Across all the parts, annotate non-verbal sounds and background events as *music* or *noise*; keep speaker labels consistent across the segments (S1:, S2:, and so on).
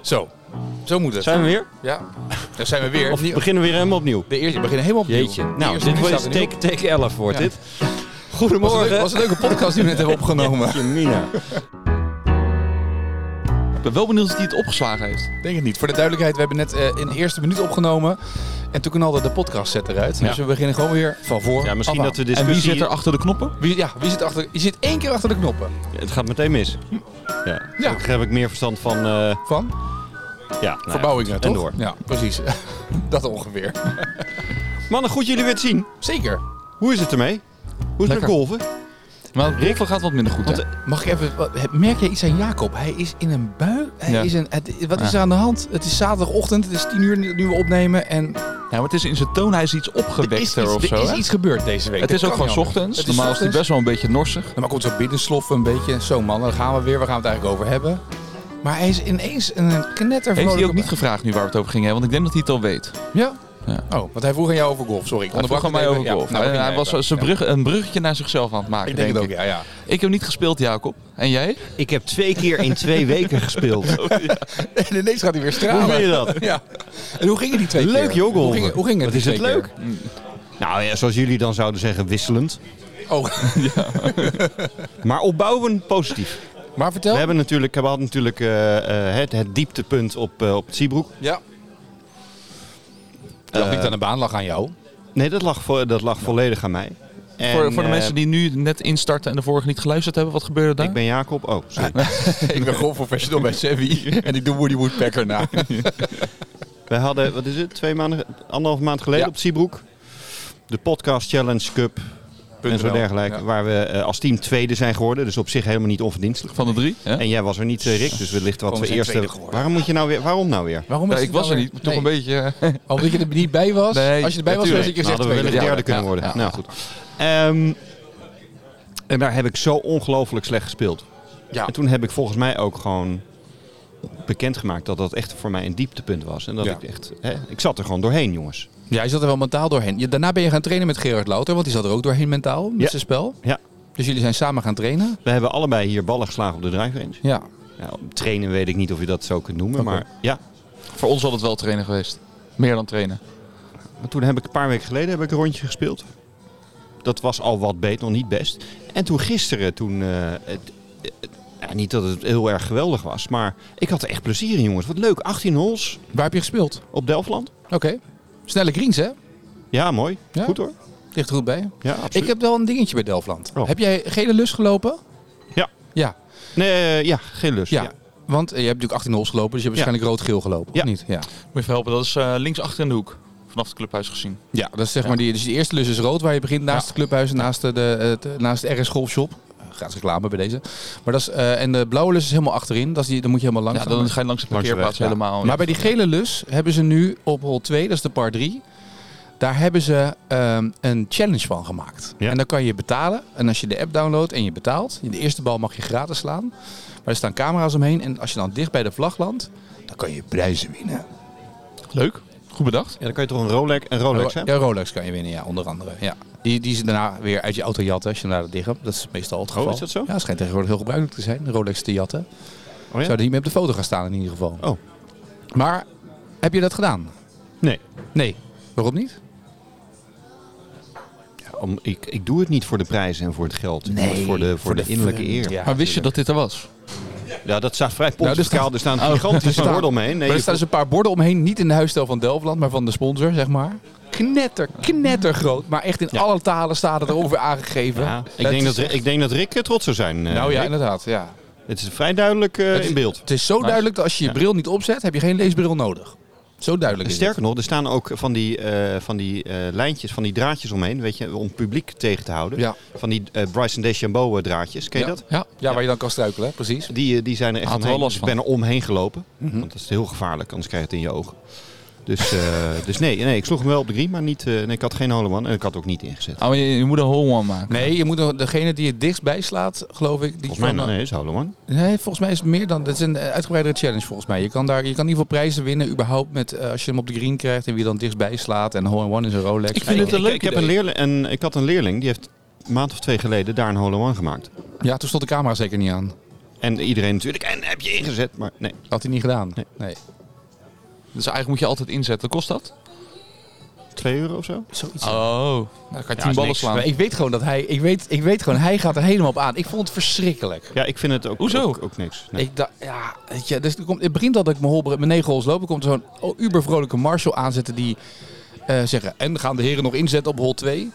S1: Zo, zo moet het.
S2: Zijn we weer?
S1: Ja, daar zijn we weer.
S2: Of
S1: Opnieuw.
S2: beginnen we weer helemaal opnieuw?
S1: De eerste, we beginnen helemaal opnieuw.
S2: Jeetje.
S1: De
S2: Nou,
S1: eerste
S2: dit
S1: staat
S2: was
S1: er nu op.
S2: take, take 11 wordt
S1: Ja.
S2: dit.
S1: Was een, leuk-
S2: Goedemorgen.
S1: was een leuke podcast die we net hebben
S2: *laughs*
S1: opgenomen.
S2: Mina.
S3: Ik ben wel benieuwd of hij het opgeslagen heeft.
S1: Denk het niet. Voor de duidelijkheid, we hebben net eh, in de eerste minuut opgenomen. En toen knalde de podcast set eruit.
S2: Ja.
S1: Dus we beginnen gewoon weer van voor.
S2: Ja, misschien
S1: af
S2: dat we
S1: aan.
S2: discussie...
S3: En wie zit er achter de knoppen?
S1: Wie, ja, wie zit achter? Je zit één keer achter de knoppen.
S2: Het gaat meteen mis. Ja.
S1: Ja.
S2: Gelukkig heb ik meer verstand van... eh,
S1: Van?
S2: ja, nou ja,
S1: Verbouwingen,
S2: en
S1: toch?
S2: door.
S1: Ja, precies. *laughs* dat ongeveer.
S2: Mannen, goed jullie weer te zien.
S1: Zeker.
S2: Hoe is het ermee? Hoe is
S1: Lekker.
S2: het met golven?
S1: Maar het golven gaat wat minder goed,
S2: Want,
S1: hè? eh, Mag ik even... wat- Merk jij iets aan Jacob? Hij is in een bui. Hij
S3: Ja.
S1: is een, het- wat is er aan de hand? Het is zaterdagochtend. Het is tien uur nu nu we opnemen. En
S3: Ja, maar het is in zijn toon, hij is iets
S1: er is,
S3: opgewekter
S1: iets,
S3: of
S1: er
S3: zo.
S1: is
S3: hè?
S1: iets gebeurd deze week.
S3: Het
S1: Dat
S3: is ook
S1: kan
S3: gewoon
S1: niet anders.
S3: 's ochtends.
S1: Het
S3: Normaal is hij
S1: ochtends.
S3: best wel een beetje norsig.
S1: Dan maak ik ons zo binnensloffen een beetje. Zo man, dan gaan we weer. Waar gaan we het eigenlijk over hebben? Maar hij is ineens een knetter
S3: Heeft hij ook niet gevraagd nu waar we het over gingen? hè? Want ik denk dat hij het al weet.
S1: Ja?
S3: Ja.
S1: Oh, want hij vroeg aan jou over golf. Sorry, ik
S3: Hij vroeg
S1: onderbrak
S3: aan mij
S1: het
S3: over
S1: even.
S3: golf.
S1: Ja, nou,
S3: En
S1: ging
S3: hij was
S1: even.
S3: zijn
S1: Ja.
S3: brug, een bruggetje naar zichzelf aan het maken,
S1: Ik
S3: denk,
S1: denk het ook,
S3: ik.
S1: ja. ja.
S3: Ik heb niet gespeeld, Jacob. En jij?
S2: Ik heb twee keer in twee weken *laughs* gespeeld.
S1: *laughs* En ineens gaat hij weer stralen.
S2: Hoe vind je dat?
S1: Ja. En hoe gingen die twee
S2: Leuk,
S1: keer?
S2: joh, golven.
S1: Hoe ging, hoe ging het?
S2: Wat is
S1: die
S2: het
S1: twee
S2: leuk?
S1: keer?
S2: Nou ja, zoals jullie dan zouden zeggen, wisselend.
S1: Oh, *laughs*
S2: Maar opbouwen positief.
S1: maar vertel.
S2: We hebben natuurlijk, we hadden natuurlijk eh, eh, het, het dieptepunt op, eh, op het Zeebroek.
S1: Ja. Eh, Dat niet aan de baan lag aan jou.
S2: Nee, dat lag, vo- dat lag volledig aan mij. En,
S3: voor, voor de
S2: eh,
S3: mensen die nu net instarten en de vorige niet geluisterd hebben, wat gebeurde daar?
S2: Ik ben Jacob.
S3: *laughs*
S2: Oh, sorry.
S1: *laughs* ik ben golfprofessional bij Sevi. En ik doe Woody Woodpecker na.
S2: Wij hadden, wat is het, twee maanden, anderhalf maand geleden
S1: Ja.
S2: op Siebroek. De podcast Challenge Cup en zo dergelijke. Waar we eh, als team tweede zijn geworden. Dus op zich helemaal niet onverdienstelijk.
S3: Van de drie? Ja?
S2: En jij was er niet, eh, Rick. Dus wellicht wat
S1: Oh, we
S2: we
S1: zijn
S2: eerst...
S1: tweede geworden.
S2: Waarom, moet je nou weer, waarom nou weer?
S1: Waarom
S3: Ja,
S1: is
S3: ik
S1: het
S3: was
S1: nou
S3: er
S1: weer-
S3: niet, maar toch
S1: Nee.
S3: een beetje... eh,
S1: Omdat je er niet bij was?
S3: Nee,
S1: Als je erbij was,
S3: natuurlijk.
S1: was ik je
S2: Nou,
S1: gezegd
S2: hadden we wellicht
S1: tweede.
S2: derde
S3: Ja,
S2: kunnen
S3: ja,
S2: worden.
S3: ja.
S2: Nou goed. Ehm, en daar heb ik zo ongelooflijk slecht gespeeld.
S1: Ja.
S2: En toen heb ik volgens mij ook gewoon bekendgemaakt dat dat echt voor mij een dieptepunt was. En dat
S1: Ja.
S2: ik echt... Hè, ik zat er gewoon doorheen, jongens.
S1: Ja, je zat er wel mentaal doorheen. Ja, daarna ben je gaan trainen met Gerard Louter, want die zat er ook doorheen mentaal met
S2: Ja.
S1: zijn spel.
S2: Ja.
S1: Dus jullie zijn samen gaan trainen.
S2: We hebben allebei hier ballen geslagen op de drive range.
S1: Ja.
S2: Ja, trainen weet ik niet of je dat zo kunt noemen,
S1: Oké.
S2: maar ja.
S3: *laughs* Voor ons had het wel trainen geweest. Meer dan trainen.
S2: Maar toen heb ik een paar weken geleden heb ik een rondje gespeeld. Dat was al wat beter, nog niet best. En toen gisteren, toen, eh, het- het- ja, niet dat het heel erg geweldig was, maar ik had er echt plezier in, jongens. Wat leuk, 18 holes
S1: Waar heb je gespeeld?
S2: op Delftland.
S1: Oké. Snelle greens, hè?
S2: Ja, mooi.
S1: Ja?
S2: Goed hoor.
S1: Ligt er goed bij.
S2: Ja, absoluut.
S1: Ik eh, heb wel een dingetje bij Delftland.
S2: Oh.
S1: Heb jij gele lus gelopen?
S2: Ja.
S1: Ja.
S2: Nee, eh, ja, geen lust.
S1: Ja.
S2: Ja.
S1: Want eh, je hebt natuurlijk 18 holes gelopen, dus je hebt
S2: Ja.
S1: waarschijnlijk rood-geel gelopen,
S2: Ja.
S1: of niet? Ja.
S3: Moet je even helpen, dat is eh, links achter in de hoek. Vanaf het clubhuis gezien.
S1: Ja, dat is zeg maar die. Dus de eerste lus is rood waar je begint naast het clubhuis, en naast de, de, de- naast de RS Golfshop. Eh, Gratis reclame bij deze. Maar dat is, eh, en de blauwe lus is helemaal achterin. Dat is die, dan moet je helemaal langs.
S3: Ja,
S1: gaan.
S3: dan ga je langs de
S2: Langs de
S3: parkeerplaats
S2: weg, ja.
S3: helemaal.
S1: Maar bij die gele lus hebben ze nu op hol 2, dat is de par 3. Daar hebben ze ehm, een challenge van gemaakt.
S2: Ja.
S1: En dan kan je betalen. En als je de app downloadt en je betaalt, de eerste bal mag je gratis slaan. Maar er staan camera's omheen. En als je dan dicht bij de vlag landt, dan kan je prijzen winnen.
S3: Leuk, goed bedacht.
S2: Ja, dan kan je toch een Rolex, een Rolex
S1: Ro-
S2: hebben?
S1: ja, Rolex kan je winnen, ja, onder andere. Ja. Die, die ze daarna weer uit je auto jatten als je hem daar dicht hebt. Dat is meestal het geval.
S2: Oh, is dat zo?
S1: Ja, schijnt tegenwoordig heel gebruikelijk te zijn, Rolex te jatten.
S2: Oh, ja?
S1: Zou er niet meer op de foto gaan staan in ieder geval.
S2: Oh.
S1: Maar heb je dat gedaan?
S2: Nee.
S1: Nee. Waarom niet?
S2: Ja, om, ik, ik doe het niet voor de prijzen en voor het geld. Ik doe het voor de, voor de, innerlijke
S1: fun.
S2: eer.
S1: Ja,
S3: maar wist je dat dit er was?
S2: Ja, dat staat vrij
S1: Nou, er
S2: pontificaal. er staan
S1: Oh. Er
S2: gigantische
S1: staan-
S2: borden omheen. Nee,
S1: maar
S2: je
S1: er staan dus een paar borden omheen, niet in de huisstijl van Delftland, maar van de sponsor, zeg maar. Knetter, knettergroot. Maar echt in
S2: Ja.
S1: alle talen staat het
S2: *laughs*
S1: erover aangegeven.
S2: Ja, ik,
S1: Het
S2: denk
S1: is
S2: dat,
S1: echt-
S2: ik denk dat Rick eh, trots zou zijn. eh,
S1: Nou ja,
S2: Rick.
S1: inderdaad. Ja.
S2: het is vrij duidelijk eh, in beeld.
S1: Het is zo duidelijk dat als je je bril niet opzet, heb je geen leesbril nodig. Zo duidelijk is het.
S2: Sterker nog, er staan ook van die, eh, van die eh, lijntjes, van die draadjes omheen, weet je, om het publiek tegen te houden.
S1: Ja.
S2: Van die eh, Bryson DeChambeau eh, draadjes, ken je
S1: ja.
S2: dat?
S1: Ja. ja, waar je dan kan struikelen, hè? precies.
S2: Die, eh, die zijn er echt
S3: Had er wel
S2: omheen.
S3: last
S2: Dus ik
S3: van.
S2: ben er omheen gelopen, want dat is heel gevaarlijk, anders krijg je het in je ogen. Dus, eh, *laughs* dus nee, nee, ik sloeg hem wel op de green, maar niet, eh, nee, ik had geen holeman en ik had ook niet ingezet.
S3: Ah, maar je, je moet een hole one maken.
S1: Nee, je moet nog- degene die het dichtst bij slaat, geloof ik. Die
S2: Volgens mij
S1: van- eh,
S2: nee, is holeman.
S1: Nee, volgens mij is het meer dan. Dat is een eh, uitgebreidere challenge volgens mij. Je kan, daar, je kan in ieder geval prijzen winnen, überhaupt met eh, als je hem op de green krijgt en wie dan dichtstbij slaat. En hole in one is een Rolex.
S3: Ik vind het een
S2: ik,
S3: leuk
S2: ik, heb
S3: idee.
S2: een leerling, en ik had een leerling, die heeft een maand of twee geleden daar een holeman gemaakt.
S1: Ja, toen stond de camera zeker niet aan.
S2: En iedereen natuurlijk, en heb je ingezet? Maar nee,
S1: Had hij niet gedaan.
S2: Nee.
S3: Dus eigenlijk moet je altijd inzetten. Kost dat?
S2: 2 euro of zo?
S1: Zoiets.
S3: Oh, nou, dan kan je tien
S2: is
S3: ballen
S2: niks.
S3: slaan.
S1: Maar ik weet gewoon dat hij, ik weet, ik weet gewoon, hij gaat er helemaal op aan. Ik vond het verschrikkelijk.
S2: Ja, ik vind het ook,
S3: Hoezo?
S2: ook, ook niks. Nee.
S1: Ik dacht, ja, weet je, dus er komt, het begint al dat ik mijn, holbre, mijn negen holes loop. Er komt zo'n ubervrolijke Marshall aanzetten die eh, zeggen... en gaan de heren nog inzetten op hol 2?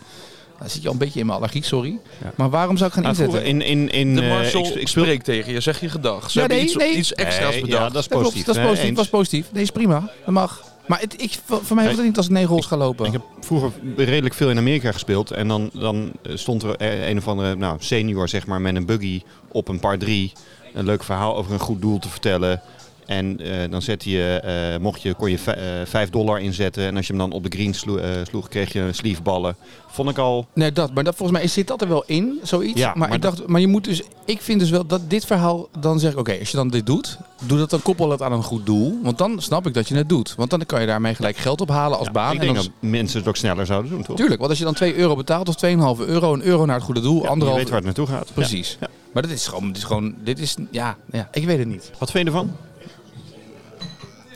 S1: Dan zit je al een beetje in mijn allergie, sorry.
S2: Ja.
S1: Maar waarom zou ik gaan
S2: Nou,
S1: inzetten?
S2: vroeger in, in, in,
S3: De
S2: eh,
S3: marshal
S2: ik, ik speel
S3: spreekt tegen je, zeg je gedag.
S1: Ja,
S3: Ze hebben
S1: nee,
S3: iets,
S1: nee.
S3: iets extra's
S2: Nee,
S3: bedacht.
S2: Ja, dat
S1: dat
S2: is
S1: klopt,
S2: positief.
S1: dat is
S2: Nee,
S1: positief, dat is
S2: eens.
S1: positief. Nee, is prima, dat mag. Maar het, ik, voor voor mij hoeft het niet als ik negen holes ga lopen.
S2: Ik heb vroeger redelijk veel in Amerika gespeeld. En dan, dan eh, stond er eh, een of andere nou, senior zeg maar, met een buggy op een paar drie. Een leuk verhaal over een goed doel te vertellen. En eh, dan zette je, eh, mocht je, kon je vij- eh, 5 dollar inzetten. En als je hem dan op de green sloe- eh, sloeg, kreeg je een sleeveballen. Vond ik al...
S1: Nee, dat. Maar dat, volgens mij zit dat er wel in, zoiets.
S2: Ja,
S1: maar,
S2: maar
S1: ik dacht, maar je moet dus. Ik vind dus wel dat dit verhaal dan zeg ik, oké, als je dan dit doet, doe dat dan koppel het aan een goed doel. Want dan snap ik dat je het doet. Want dan kan je daarmee gelijk geld ophalen als
S2: Ja,
S1: baan.
S2: ik
S1: en
S2: denk
S1: dan,
S2: dat mensen het ook sneller zouden doen, toch?
S1: Tuurlijk, want als je dan 2 euro betaalt of 2,5 euro, een euro naar het goede doel,
S2: Je
S1: anderhalf.
S2: weet waar het naartoe gaat. Ja.
S1: Precies. Maar dit is gewoon, dit is gewoon, dit is, ja, ja ik weet het niet.
S2: Wat vind je ervan?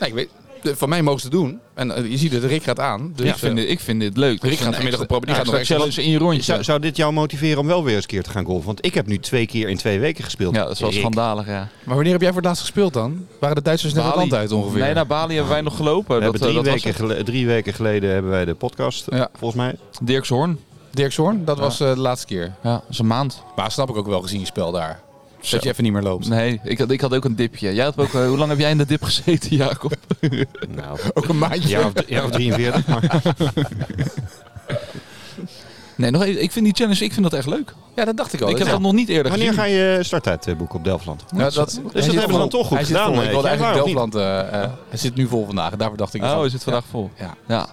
S1: Nee, ik weet, de- van mij mogen ze het doen. En eh, je ziet het, Rick gaat aan. Dus,
S3: ik, vind
S1: eh,
S3: dit, ik vind dit leuk.
S1: Rick gaat vanmiddag een probe- die gaat nog extra
S3: challenge in je rondje.
S2: Zou, zou dit jou motiveren om wel weer eens een keer te gaan golven? Want ik heb nu twee keer in twee weken gespeeld.
S3: ja, dat is wel
S2: Erik,
S3: schandalig, ja.
S1: maar wanneer heb jij voor het laatst gespeeld dan? Waren de Duitsers net het
S3: Bali.
S1: land uit ongeveer?
S3: Nee, naar Bali hebben wij nog gelopen.
S2: We
S3: dat,
S2: hebben drie,
S3: eh, dat
S2: weken
S3: was
S2: gele- drie weken geleden hebben wij de podcast,
S1: Ja.
S2: volgens mij.
S3: het. Dirk Zorn.
S1: Dirk Zorn, dat was eh, de laatste keer.
S3: Ja, dat is een maand.
S1: Maar snap ik ook wel gezien je spel daar.
S3: Zo.
S1: Dat je even niet meer loopt.
S3: Nee, ik had, ik had ook een dipje. Jij had ook, eh, hoe lang heb jij in de dip gezeten, Jacob?
S2: *laughs* Nou,
S1: Ook een maandje.
S2: ja, of, ja, of 43.
S3: *laughs*
S2: Maar
S3: Nee, nog even. Ik vind die challenge, ik vind dat echt leuk.
S1: Ja, dat dacht ik al.
S3: ik heb
S1: Ja.
S3: dat nog niet eerder
S2: wanneer
S3: gezien.
S2: ga je starttijd eh, boeken op Delftland?
S1: Ja, dat, hij zit
S2: hebben ze
S1: vol.
S2: dan toch goed
S1: hij zit
S2: gedaan,
S1: vol.
S2: weet
S1: Ik wilde
S2: je.
S1: eigenlijk
S2: Waarom
S1: Delfland... eh, eh, hij zit nu vol vandaag. Daarvoor dacht ik...
S3: Oh,
S1: van-
S3: is het vandaag vol?
S1: Ja.
S3: Ja.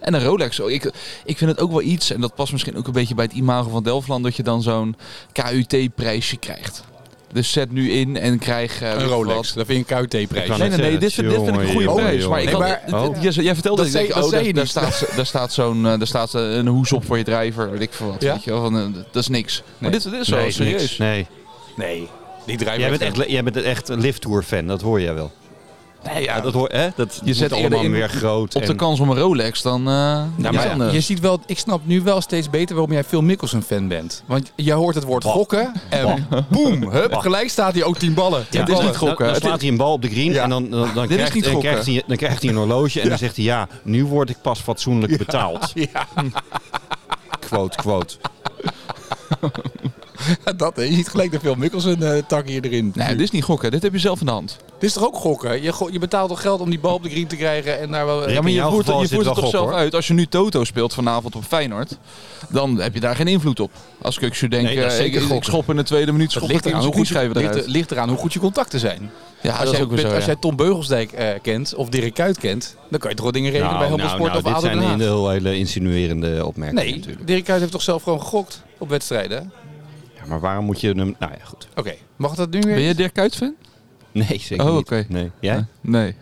S3: En een Rolex. Oh, Ik, ik vind het ook wel iets, en dat past misschien ook een beetje bij het imago van Delftland, dat je dan zo'n KUT-prijsje krijgt. Dus zet nu in en krijg... eh,
S1: Ja.
S3: weet
S1: Een
S3: ik
S1: Rolex.
S3: wat.
S1: Dat vind ik een
S2: Ik
S1: KUT-prijs.
S2: kan
S3: Nee, nee, nee.
S2: zeggen,
S3: Dit, vind- dit vind ik een goede
S2: jongen,
S3: prijs. Maar ik
S1: jongen.
S3: had-
S1: Nee, maar-
S3: het- het- jij- jij vertelde
S1: Dat
S3: dat, ik
S1: zei-
S3: dacht,
S1: dat
S3: oh,
S1: zei
S3: daar,
S1: je
S3: daar
S1: niet.
S3: staat, ze- daar staat zo'n eh, daar staat eh, een hoes op voor je drijver, weet ik veel wat.
S1: Ja?
S3: Weet je wel, van, eh, dat is niks. Maar dit, dit is wel
S2: Nee,
S3: serieus.
S2: niks. Nee.
S1: Nee. Die drijven...
S2: Jij, bent echt, jij bent echt een lifttour-fan, dat hoor jij wel.
S3: Nee, ja,
S2: Ja, dat hoor, hè? Dat moet
S3: zet
S2: allemaal
S3: eerder in-
S2: weer groot.
S3: op de
S2: en-
S3: kans om een Rolex, dan... eh
S1: Ja,
S3: dan
S1: maar
S3: is het anders.
S1: je ziet wel, ik snap nu wel steeds beter waarom jij Phil Mickelson fan bent. Want jij hoort het woord
S2: Bam.
S1: gokken en boem, hup, gelijk staat hij ook tien ballen. Tien
S2: Ja,
S3: dit is
S1: ballen.
S3: niet gokken.
S2: Dan, dan
S3: Het
S2: slaat
S3: is-
S2: hij een bal op de green
S1: Ja.
S2: en dan, dan, dan,
S3: Dit is
S2: krijgt,
S3: niet
S2: dan,
S3: gokken.
S2: krijgt hij, dan krijgt hij een horloge en dan zegt hij ja, nu word ik pas
S3: *laughs*
S2: fatsoenlijk betaald.
S1: Ja.
S2: Quote, quote.
S1: Dat, hè. je ziet gelijk de Phil Mickelson eh, tak hier erin.
S3: Nee, dit is niet gokken. Dit heb je zelf in de hand.
S1: Dit is toch ook gokken? Je, go- je betaalt toch geld om die bal op de green te krijgen en daar wel...
S2: Ja,
S3: Ja, maar
S2: In
S3: je
S2: jouw
S3: voert,
S2: geval
S3: je
S2: is dit
S3: voert het toch
S2: wel gok,
S3: zelf
S2: hoor.
S3: uit. Als je nu Toto speelt vanavond op Feyenoord, dan heb je daar geen invloed op. Als Kukshu denkt,
S2: Nee, dat is
S3: eh,
S2: zeker
S3: ik, ik
S2: gokken.
S3: schop in de tweede minuut, schop
S1: Het
S3: ik
S1: ligt,
S3: in
S1: eraan hoe
S3: zijn
S1: goed je,
S3: schrijven eruit.
S1: ligt, ligt eraan hoe goed je contacten zijn.
S3: ja,
S1: als
S3: dat is
S1: jij,
S3: ook weer zo,
S1: als
S3: ja.
S1: jij Tom Beugelsdijk eh, kent of Dirk Kuyt kent, dan kan je toch wel dingen regelen bij Helmond Sport
S2: Nou, dit
S1: of ADO
S2: zijn
S1: Den Haag.
S2: heel hele insinuerende opmerkingen
S1: Nee,
S2: natuurlijk.
S1: Dirk Kuyt heeft toch zelf gewoon gegokt op wedstrijden? Oké,
S2: Ja, maar waarom moet je hem... Nou ja, goed. *laughs*
S1: mag dat nu weer?
S3: Ben je Dirk Kuyt fan?
S2: Nee, zeker
S3: Oh,
S2: niet.
S3: oké.
S2: Nee. Jij?
S3: Nee.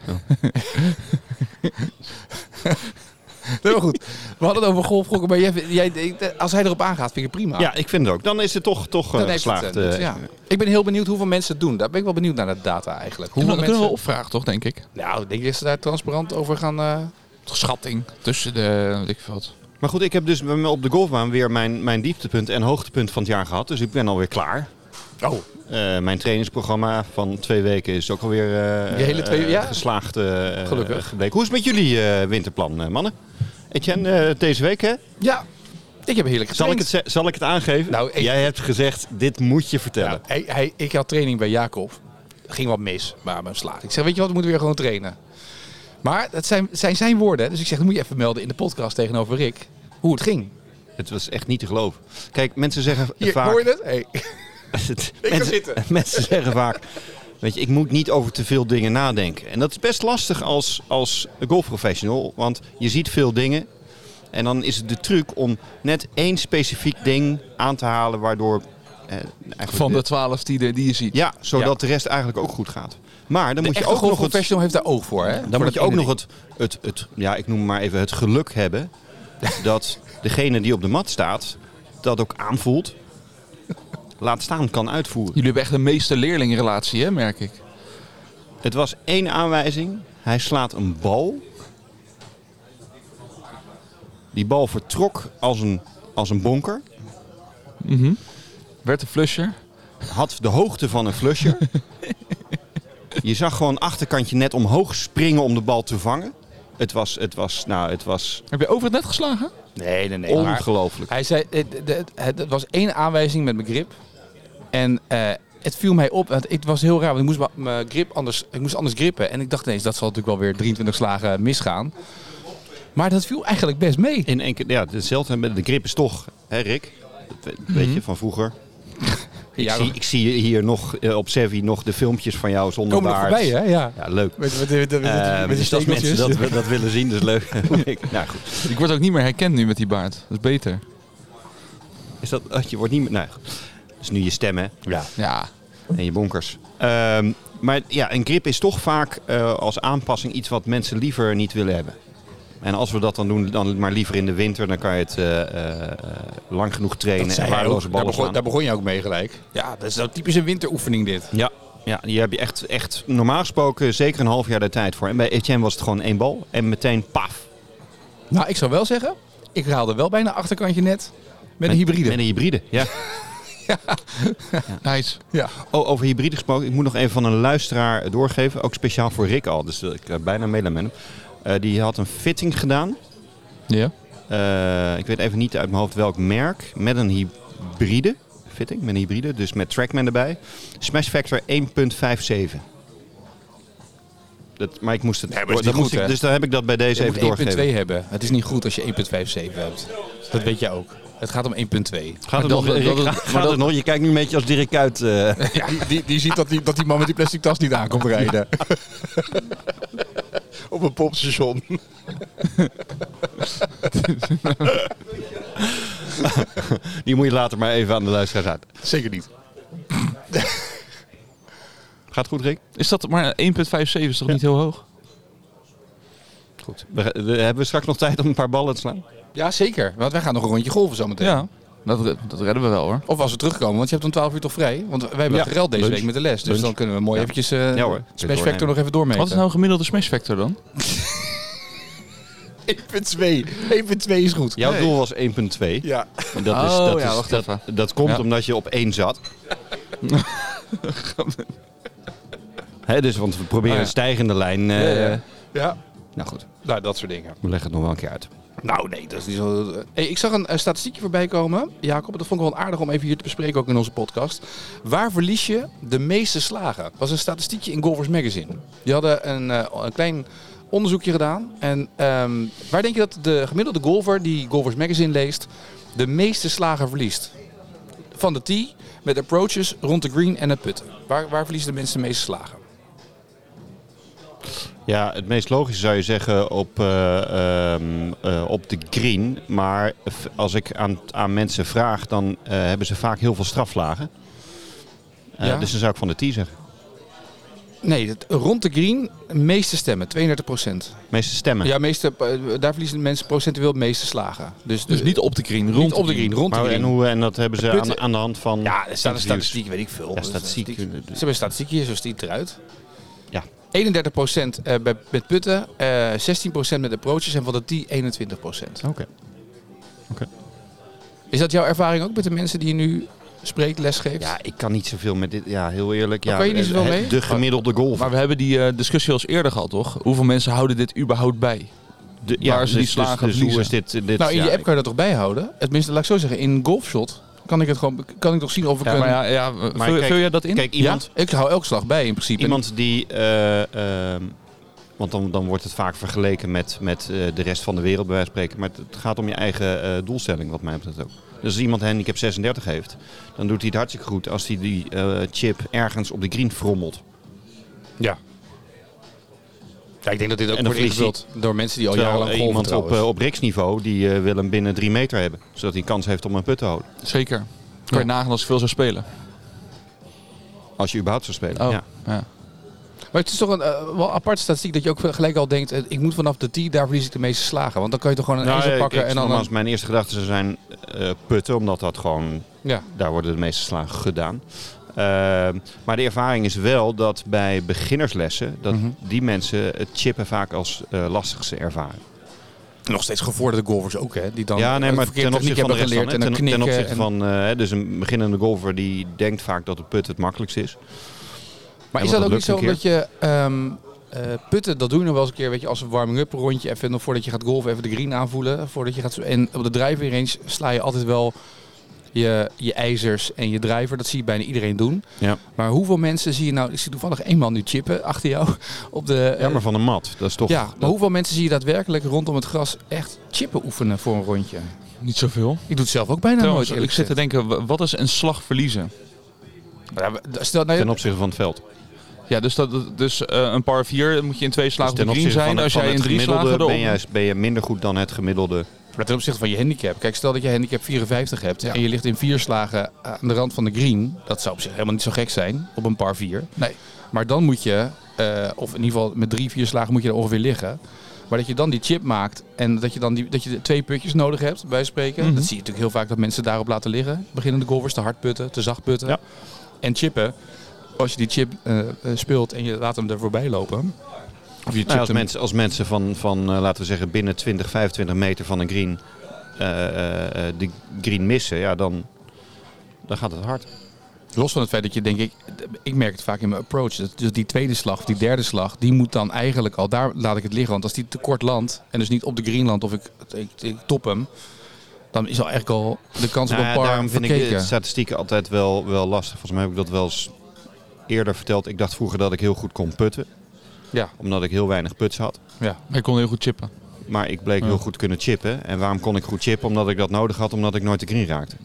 S1: Heel goed. We hadden het over golfgokken, maar jij, jij, ik- als hij erop aangaat, vind ik het prima.
S2: Ja, ik vind het ook. Dan is het toch, toch eh,
S1: Dan heeft het,
S2: geslaagd.
S1: eh,
S2: eh.
S1: nut, ja. Ik ben heel benieuwd hoeveel mensen het doen. Daar ben ik wel benieuwd naar de data eigenlijk.
S3: Hoe
S1: Hoeveel
S3: dat kunnen we
S1: mensen...
S3: opvragen, toch, denk ik?
S1: Nou, ik denk dat ze daar transparant over gaan... eh,
S3: Schatting tussen de... Weet ik veel wat.
S2: Maar goed, ik heb dus bij me op de golfbaan weer mijn, mijn dieptepunt en hoogtepunt van het jaar gehad. Dus ik ben alweer klaar.
S1: Oh,
S2: Eh, mijn trainingsprogramma van twee weken is ook alweer eh
S1: Die hele twee-
S2: eh,
S1: ja.
S2: geslaagd eh, eh,
S1: Gelukkig.
S2: gebleken. Hoe is het met jullie eh, winterplan, eh, mannen? Etienne, eh, deze week hè?
S1: ja. Ik heb heerlijk
S2: Zal ik,
S1: getraind.
S2: het, ze- zal ik het aangeven?
S1: Nou, ik-
S2: Jij hebt gezegd, dit moet je vertellen.
S1: Ja, hij, hij, ik had training bij Jacob. Ging wat mis, maar mijn slaat. Ik zeg, weet je wat, we moeten weer gewoon trainen. Maar het zijn, het zijn zijn woorden. Dus ik zeg, dat moet je even melden in de podcast tegenover Rick. Hoe het ging.
S2: Het was echt niet te geloven. Kijk, mensen zeggen
S1: Hier,
S2: vaak...
S1: hoor je het? Hey.
S2: *laughs* Het-
S1: kan
S2: mensen,
S1: zitten.
S2: mensen zeggen vaak, weet je, ik moet niet over te veel dingen nadenken. En dat is best lastig als, als golfprofessional, want je ziet veel dingen. En dan is het de truc om net één specifiek ding aan te halen waardoor... eh, eigenlijk
S3: Van
S2: de-
S3: de twaalf die, de- die je ziet.
S2: Ja, zodat de rest eigenlijk ook goed gaat. Maar dan
S1: De
S2: moet je
S1: echte
S2: ook nog het,
S1: golfprofessional heeft daar oog voor, hè?
S2: dan
S1: Voor
S2: moet je
S1: dat
S2: ook
S1: ene
S2: nog het, het, het, ja, ik noem maar even het geluk hebben *laughs* dat degene die op de mat staat dat ook aanvoelt. laat staan kan uitvoeren.
S3: Jullie hebben echt een meester-leerlingrelatie, hè, merk ik.
S2: Het was één aanwijzing. Hij slaat een bal. Die bal vertrok als een, als een bonker.
S3: Werd een flusher.
S2: Had de hoogte van een
S1: *laughs*
S2: flusher. Je zag gewoon achterkantje net omhoog springen om de bal te vangen. Het was, het was, nou, het was
S3: Heb je over het net geslagen?
S1: Nee, nee, nee. maar-
S2: ongelooflijk.
S1: Hij zei, het, het- het- het- het was één aanwijzing met mijn grip. En eh, het viel mij op. Want het was heel raar, want ik moest ma- mijn grip anders, ik moest anders grippen. En ik dacht ineens, dat zal natuurlijk wel weer 23 slagen misgaan. Maar dat viel eigenlijk best mee.
S2: In één keer, ja, hetzelfde met de grip is toch, hè Rick? Dat we- weet je, van vroeger. Ik,
S1: Mhm. Ja,
S2: zie, ik zie hier nog eh, op Sevi nog de filmpjes van jou zonder
S1: komen er
S2: baard.
S1: voorbij, hè? Ja.
S2: Ja, leuk.
S1: Met, met, met, met, met
S2: Eh,
S1: die
S2: dus als mensen
S1: stekeltjes.
S2: dat, we- dat willen zien, dat is
S1: *laughs*
S2: leuk. *laughs* Ik- nou goed.
S3: Ik word ook niet meer herkend nu met die baard. Dat is beter.
S2: Is dat, oh, je wordt niet meer... Nou, goed. Dat is nu je stem, hè? Ja.
S3: Ja.
S2: En je bonkers. Ehm, maar ja, een grip is toch vaak eh, als aanpassing iets wat mensen liever niet willen hebben. En als we dat dan doen, dan maar liever in de winter. Dan kan je het eh, eh, eh, lang genoeg trainen en waardeloze
S1: daar,
S2: ballen
S1: begon,
S2: slaan.
S1: daar begon je ook mee gelijk. Ja, dat is nou typisch een winteroefening dit.
S2: Ja, ja, hier heb je echt, echt normaal gesproken zeker een half jaar de tijd voor. En bij Etienne was het gewoon één bal en meteen paf.
S1: Nou, ik zou wel zeggen, ik haalde wel bijna achterkantje net met een hybride.
S2: Met een hybride, ja.
S3: Nice.
S1: ja.
S2: *laughs* Oh, over hybride gesproken. Ik moet nog even van een luisteraar doorgeven. Ook speciaal voor Rick al. Dus eh, ik eh, bijna medelijden met hem. Eh, die had een fitting gedaan.
S3: Ja.
S2: Eh, ik weet even niet uit mijn hoofd welk merk. Met een hybride fitting. Met een hybride. Dus met Trackman erbij. Smash Factor 1.57. Dat, maar ik moest het.
S1: Nee, maar dat is niet
S2: dat moest
S1: goed,
S2: ik,
S1: hè?
S2: dus daar heb ik dat bij deze
S1: Je
S2: even doorgegeven.
S1: moet 1.2 hebben. Het is niet goed als je 1.57 hebt. Dat weet jij ook. Het gaat om 1.2.
S2: Gaat het
S3: Maar
S2: nog,
S3: dan-
S2: Rick,
S3: dat-
S2: gaat-
S3: maar
S2: gaat
S3: dat-
S2: het nog? Je kijkt nu een beetje als Dirk Kuyt. eh.
S1: *laughs*
S2: *laughs*
S1: Ja, die, die, die ziet dat die, dat die man met die plastic tas niet aankomt *laughs* rijden. Op een popstation.
S2: die moet je later maar even aan de luisteraars uit.
S1: Zeker niet.
S2: Gaat het goed, Rick?
S3: Is dat maar 1,57 is toch niet heel hoog?
S2: Goed. We, we- hebben we straks nog tijd om een paar ballen te slaan?
S1: Ja, zeker. Want wij gaan nog een rondje golven zometeen.
S3: Ja. Dat, re- dat redden we wel hoor.
S1: Of als we terugkomen, want je hebt om 12 uur toch vrij? Want wij hebben
S2: Ja.
S1: gereld deze
S2: Lunch.
S1: week met de les. Dus
S2: Lunch.
S1: dan kunnen we mooi
S2: Ja.
S1: eventjes eh
S2: Ja hoor.
S1: Smash Factor nog even doormeten.
S3: Wat is nou een gemiddelde smash factor dan?
S1: *laughs* 1.2. 1.2 is goed.
S2: Jouw
S1: Nee.
S2: doel was 1.2.
S1: Ja.
S2: En Dat, is,
S3: Oh,
S2: dat,
S3: ja,
S2: is-
S3: wacht
S2: dat,
S3: even.
S2: dat komt
S3: Ja.
S2: omdat je op 1 zat.
S3: *laughs*
S2: Hè, dus, want we proberen
S3: Oh, ja.
S2: een stijgende lijn. eh,
S3: Ja, ja.
S1: ja.
S2: Nou goed,
S1: Nou, dat soort dingen.
S2: we leggen het nog wel een keer uit.
S1: Nou, nee, dat is niet zo. Hey, ik zag een eh, statistiekje voorbij komen, Jacob. Dat vond ik wel aardig om even hier te bespreken, ook in onze podcast. Waar verlies je de meeste slagen? Dat was een statistiekje in Golfers Magazine. Die hadden een, eh, een klein onderzoekje gedaan. En ehm, waar denk je dat de gemiddelde golfer die Golfers Magazine leest, de meeste slagen verliest? Van de tee, met approaches rond de green en het putten. Waar, waar verliezen de mensen de meeste slagen?
S2: Ja, het meest logische zou je zeggen op, eh, ehm, eh, op de green. Maar f- als ik aan, aan mensen vraag, dan eh, hebben ze vaak heel veel straflagen. Eh,
S1: Ja.
S2: Dus dan zou ik van de tee zeggen.
S1: Nee, dat- rond de green, meeste stemmen, 32 procent.
S2: meeste stemmen.
S1: Ja, meeste, eh, daar verliezen de mensen procentueel het meeste slagen. Dus,
S3: Dus
S1: de-
S3: niet op de green,
S1: niet
S3: rond
S1: op de green, rond de
S2: maar, en,
S1: green.
S2: hoe, en dat hebben ze
S1: Putten.
S2: aan, de- aan de hand van.
S1: Ja, er staat een
S2: interviews.
S1: statistiek, weet ik veel. Dus, eh,
S2: Ja, statistiek.
S1: Ze hebben een statistiekje, zo ziet het eruit.
S2: Ja.
S1: 31 procent bij, met putten, eh 16 procent met approaches en van de tee 21 procent.
S2: Oké.
S1: Is dat jouw ervaring ook met de mensen die je nu spreekt, lesgeeft?
S2: Ja, ik kan niet zoveel met dit. Ja, heel eerlijk.
S1: Maar
S2: Ja,
S1: kan je niet zoveel
S2: het-
S1: mee?
S2: De gemiddelde golf.
S3: Maar we hebben die eh, discussie al eens eerder gehad, toch? Hoeveel mensen houden dit überhaupt bij?
S2: De-
S3: waar ze die slagen
S2: dus, dus hoe
S3: verliezen.
S2: is dit? dit
S1: nou, in
S2: ja,
S1: je app kan je dat toch bijhouden? Tenminste, laat ik zo zeggen, in golfshot kan ik, het gewoon, kan ik toch zien of ik
S3: Ja,
S1: een...
S3: maar ja, ja vul,
S2: kijk-
S3: vul jij dat in?
S2: Kijk, iemand,
S1: Ja, ik hou elke slag bij in principe.
S2: iemand die. eh, ehm, want dan, dan wordt het vaak vergeleken met, met eh, de rest van de wereld, bij wijze van spreken. Maar het, het gaat om je eigen eh, doelstelling, wat mij betreft ook. Dus als iemand een handicap 36 heeft, dan doet hij het hartstikke goed als hij die eh, chip ergens op de green frommelt.
S1: Ja. ja. Ik denk dat dit ook
S2: En dan
S1: wordt
S2: verliest hij-
S1: ingevuld door mensen die al
S2: Terwijl
S1: jarenlang
S2: eh,
S1: golven
S2: iemand op,
S1: trouwens.
S2: eh, op riksniveau, die eh, wil hem binnen drie meter hebben. Zodat hij kans heeft om een put te houden.
S3: Zeker. Kan je nagaan als je veel zou spelen.
S2: Als je überhaupt zou spelen.
S3: Oh.
S2: Ja.
S3: Ja.
S1: Maar het is toch een eh, wel aparte statistiek dat je ook gelijk al denkt, eh, ik moet vanaf de 10, daar verlies ik de meeste slagen. Want dan kan je toch gewoon een
S2: Nou,
S1: ijzer
S2: ik-
S1: pakken
S2: ik,
S1: en dan...
S2: nogmaals, mijn eerste gedachten zijn eh, putten, omdat dat gewoon
S1: Ja.
S2: Daar worden de meeste slagen gedaan. Ehm, maar de ervaring is wel dat bij beginnerslessen, dat
S1: Mhm.
S2: die mensen het chippen vaak als eh, lastigste ervaren.
S1: Nog steeds gevorderde golfers ook, hè? Die dan
S2: ja, nee,
S1: een
S2: maar
S1: verkeerd
S2: ten
S1: techniek
S2: opzichte van de
S1: hebben
S2: rest dan,
S1: geleerd
S2: hè.
S1: en dan
S2: ten, ten
S1: knikken.
S2: opzichte
S1: en-
S2: van, eh, hè, dus een beginnende golfer die denkt vaak dat de put het makkelijkst is.
S1: Maar
S2: Ja,
S1: is
S2: want
S1: dat ook
S2: dat
S1: niet zo
S2: lukt
S1: dat je ehm, eh, putten, dat doen we nog wel eens een keer, weet je, als een warming-up rondje, even nog voordat je gaat golven, even de green aanvoelen, voordat je gaat en op de driving range sla je altijd wel je, je ijzers en je driver. Dat zie je bijna iedereen doen.
S2: Ja.
S1: Maar hoeveel mensen zie je nou? Ik zie toevallig één man nu chippen achter jou op de.
S2: Ja, maar van een mat, dat is toch...
S1: ja, maar hoeveel mensen zie je daadwerkelijk rondom het gras echt chippen oefenen voor een rondje?
S3: Niet zoveel.
S1: Ik doe het zelf ook bijna nooit.
S3: Trouwens, ik
S1: eerlijk
S3: zit te denken, wa- wat is een slag verliezen?
S1: gezegd. Ja, maar Stel, nou,
S2: Ten opzichte van het veld.
S3: Ja, dus, dat, dus eh, een par 4 moet je in twee
S2: Dus
S3: slagen
S2: ten
S3: op de green
S2: opzichte
S3: zijn.
S2: van,
S3: Als
S2: van
S3: jij in
S2: het
S3: drie slagen
S2: gemiddelde
S3: erop...
S2: ben je, ben je minder goed dan het gemiddelde.
S1: Maar ten opzichte van je handicap. Kijk, stel dat je handicap 54 hebt en je ligt in vier slagen aan de rand van de green. Dat zou op zich helemaal niet zo gek zijn op een par 4.
S3: Nee.
S1: Maar dan moet je, eh, of in ieder geval met drie, vier slagen moet je er ongeveer liggen. Maar dat je dan die chip maakt en dat je dan die, dat je de twee putjes nodig hebt, bij spreken.
S3: Mhm.
S1: Dat zie je natuurlijk heel vaak dat mensen daarop laten liggen. Beginnende golfers te hard putten, te zacht putten.
S2: Ja.
S1: En chippen. Als je die chip eh, eh, speelt en je laat hem er voorbij lopen. Of je chipt
S2: Nou, als,
S1: hem
S2: mensen, als mensen van, van eh, laten we zeggen, binnen 20, 25 meter van een green eh, eh, eh, die green missen, ja, dan, dan gaat het hard.
S1: Los van het feit dat je denk ik, ik merk het vaak in mijn approach. Dat, dus die tweede slag, of die derde slag, die moet dan eigenlijk al, daar laat ik het liggen. Want als die te kort landt, en dus niet op de green landt of ik, ik, ik top hem, dan is al eigenlijk al de kans op
S2: Nou
S1: een
S2: ja,
S1: par
S2: daarom vind
S1: verkeken.
S2: ik de statistieken altijd wel, wel lastig. Volgens mij heb ik dat wel eens eerder verteld. Ik dacht vroeger dat ik heel goed kon putten.
S1: Ja.
S2: Omdat ik heel weinig puts had.
S1: ja.
S3: Hij kon heel goed chippen.
S2: Maar ik bleek
S1: Ja.
S2: heel goed te kunnen chippen. En waarom kon ik goed chippen? Omdat ik dat nodig had, omdat ik nooit de green
S3: *laughs*
S2: raakte.